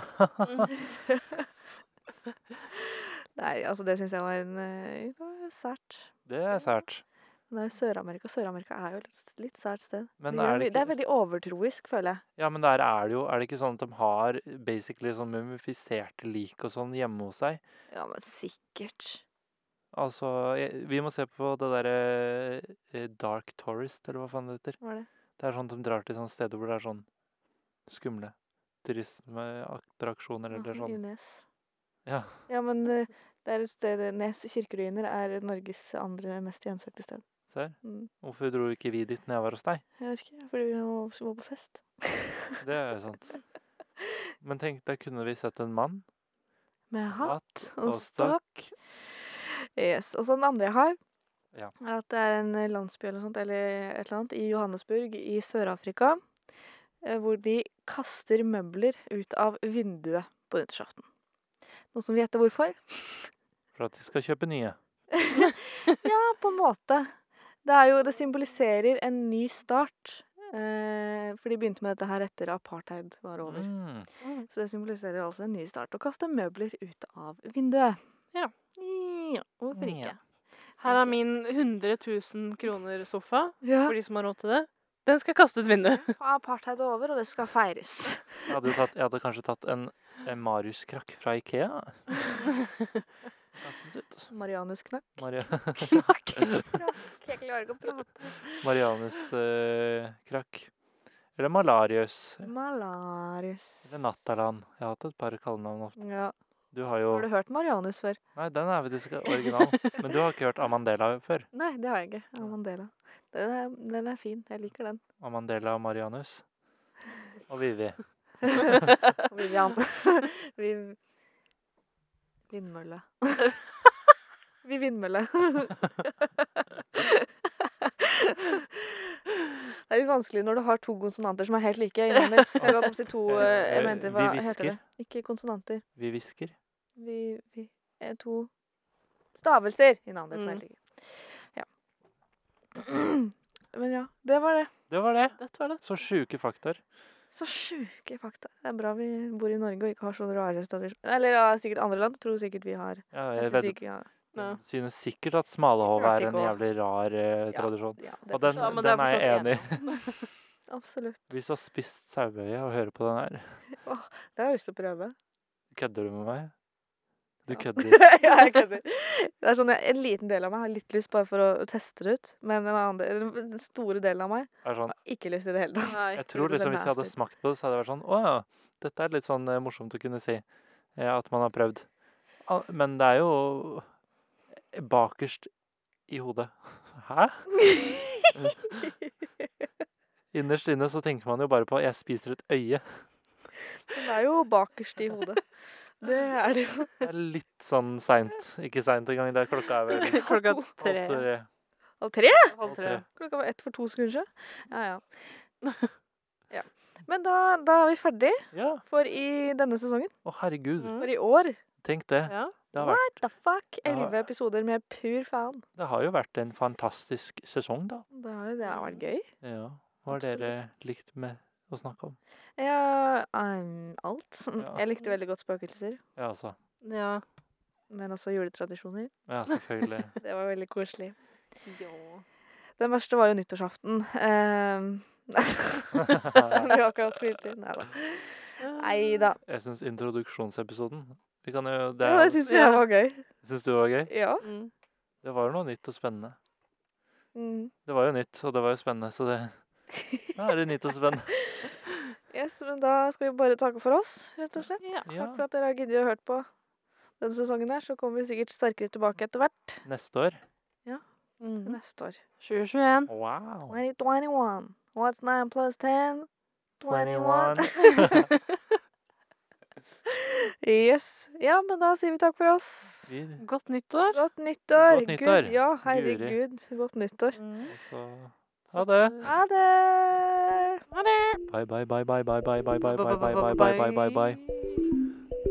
Nei, altså det syns jeg var en eh, det var sært. Det er sært. Men det er jo Sør-Amerika. Sør-Amerika er jo et litt sært sted. Men det, gjør er det, mye- det er ikke, veldig overtroisk, føler jeg. ja, men der er det jo Er det ikke sånn at de har basically sånn mumifiserte lik og sånn hjemme hos seg? Ja, men sikkert. Altså jeg, Vi må se på det derre eh, Dark Tourist, eller hva faen det heter. Hva er det? Det er sånn at de drar til sånne steder hvor det er sånn skumle turismeattraksjoner Ja, eller sånn sånn. Ines. Ja. Ja, men eh, det er et sted Nes kirkeruiner er Norges andre mest gjensøkte sted. Ser. Mm. Hvorfor dro ikke vi dit når jeg var hos deg? Jeg vet ikke, fordi vi må- vi må på fest. Det er jo sant. Men tenk, der kunne vi sett en mann. Med hatt Hatt og stokk. Yes. Og så den andre jeg har, Ja. er at det er en eh, landsby eller, noe sånt, eller et eller annet i Johannesburg i Sør-Afrika, eh, hvor de kaster møbler ut av vinduet på nyttårsaften. Noen som vil gjette hvorfor? For at de skal kjøpe nye. Ja, på en måte. Det, er jo, det symboliserer en ny start. Eh, for de begynte med dette her etter apartheid var over. Mm. Så det symboliserer altså en ny start. Å kaste møbler ut av vinduet. Ja. Ja, hvorfor ikke? Mm, Ja. Her er min 100 000 kroner sofa, Ja. for de som har råd til det. Den skal kaste ut vinduet. Apartheid er over, og det skal feires. Jeg hadde, jo tatt, jeg hadde kanskje tatt en, en Marius-krakk fra Ikea. Kastet ut. Marianus knakk. Mari Knakk. Jeg klarer ikke å prate. Marianus-krakk. Eller Malarius. Malarius. Eller Nattaland. Jeg har hatt et par kallenavn. opp. Ja. Du har jo Har du hørt Marianus før? Nei, den er faktisk original. Men du har ikke hørt Amandela før? Nei, det har jeg ikke. Ja, Mandela. Den er, den er fin. Jeg liker den. Amandela og Marianus. Og Vivi. Vivian. Vi Vindmølle. Vi vindmølle. Det er litt vanskelig når du har to konsonanter som er helt like. i navnet ditt. Eller at de sier to Eh, eh, jeg eh, mente, vi hva heter det? hvisker. Ikke konsonanter. Vi hvisker. Vi, vi er to stavelser i navnet ditt som er Mm. helt like. Ja. Men ja, det var det. Det var det. Dette var det. Så sjuke faktaer. Så sjuke fakta. Det er bra vi bor i Norge og ikke har så rare tradisjoner. Eller ja, sikkert andre land tror sikkert vi har. Ja, Jeg jeg synes ved, ikke, ja. Ja. synes sikkert at smalahove Klart er en ikke å- jævlig rar Ja. eh, tradisjon. Ja, det Og forstår den, Ja, men det er den er jeg forstått enig i. jeg. Absolutt. Hvis du har spist saueøye og hører på den her, Det har jeg lyst til å prøve. kødder du med meg? Du Ja. kødder. ja, jeg kødder. Det er sånn, jeg- en liten del av meg har litt lyst bare for å teste det ut. Men en annen del, eller den store delen av meg Er sånn, har ikke lyst i det hele tatt. Nei. jeg tror liksom Hvis jeg hadde nasty. smakt på det, så hadde jeg vært sånn Å ja, dette er litt sånn eh, morsomt å kunne si eh, at man har prøvd. Al- Men det er jo bakerst i hodet. Hæ? Innerst inne så tenker man jo bare på 'jeg spiser et øye'. Den er jo bakerst i hodet. Det er det jo. Det er litt sånn seint. Ikke seint engang, det er klokka er vel halv Klokka tre. tre. Halv tre? Halv tre. tre. Klokka var ett for to sekunder siden. Ja, ja. ja. Men da, da er vi ferdig Ja. for i denne sesongen. Å, herregud. Mm. For i år. Tenk det. Ja. Det har, vært, The fuck? Ja. Elleve episoder med pur fan. det har jo vært en fantastisk sesong, da. Det har jo det har vært gøy. Ja. Hva har dere likt med å snakke om? Ja, um, alt. Ja. Jeg likte veldig godt spøkelser, Ja, altså. Ja. men også juletradisjoner. Ja, selvfølgelig. Det var veldig koselig. ja. Den verste var jo nyttårsaften. Um, vi har akkurat spilt inn. Nei da. Nei da. Jeg syns introduksjonsepisoden vi kan jo, det, Ja, det er- syns jeg var gøy. Syns du det var gøy? Ja. Mm. Det var jo noe nytt og spennende. Mm. Det var jo nytt, og det var jo spennende, så det Da er det nytt og spennende. Yes, men da skal vi bare takke for oss, rett og slett. Ja. Ja, Takk for at dere har giddet å høre på denne sesongen her. Så kommer vi sikkert sterkere tilbake etter hvert neste år. til Mm. neste år. 2021. Wow. 2021. What's 9 plus 10? 21. 21. Yes. Ja, men da sier vi takk for oss. Vi- Godt nyttår. Godt nyttår. Godt nyttår. Gud, ja, herregud. Godt nyttår. Mm. Og så Ha det. Ha det! Ha det. Bye, bye, bye, bye, bye, bye, bye, bye, bye, bye, bye, bye, bye, bye, bye. bye.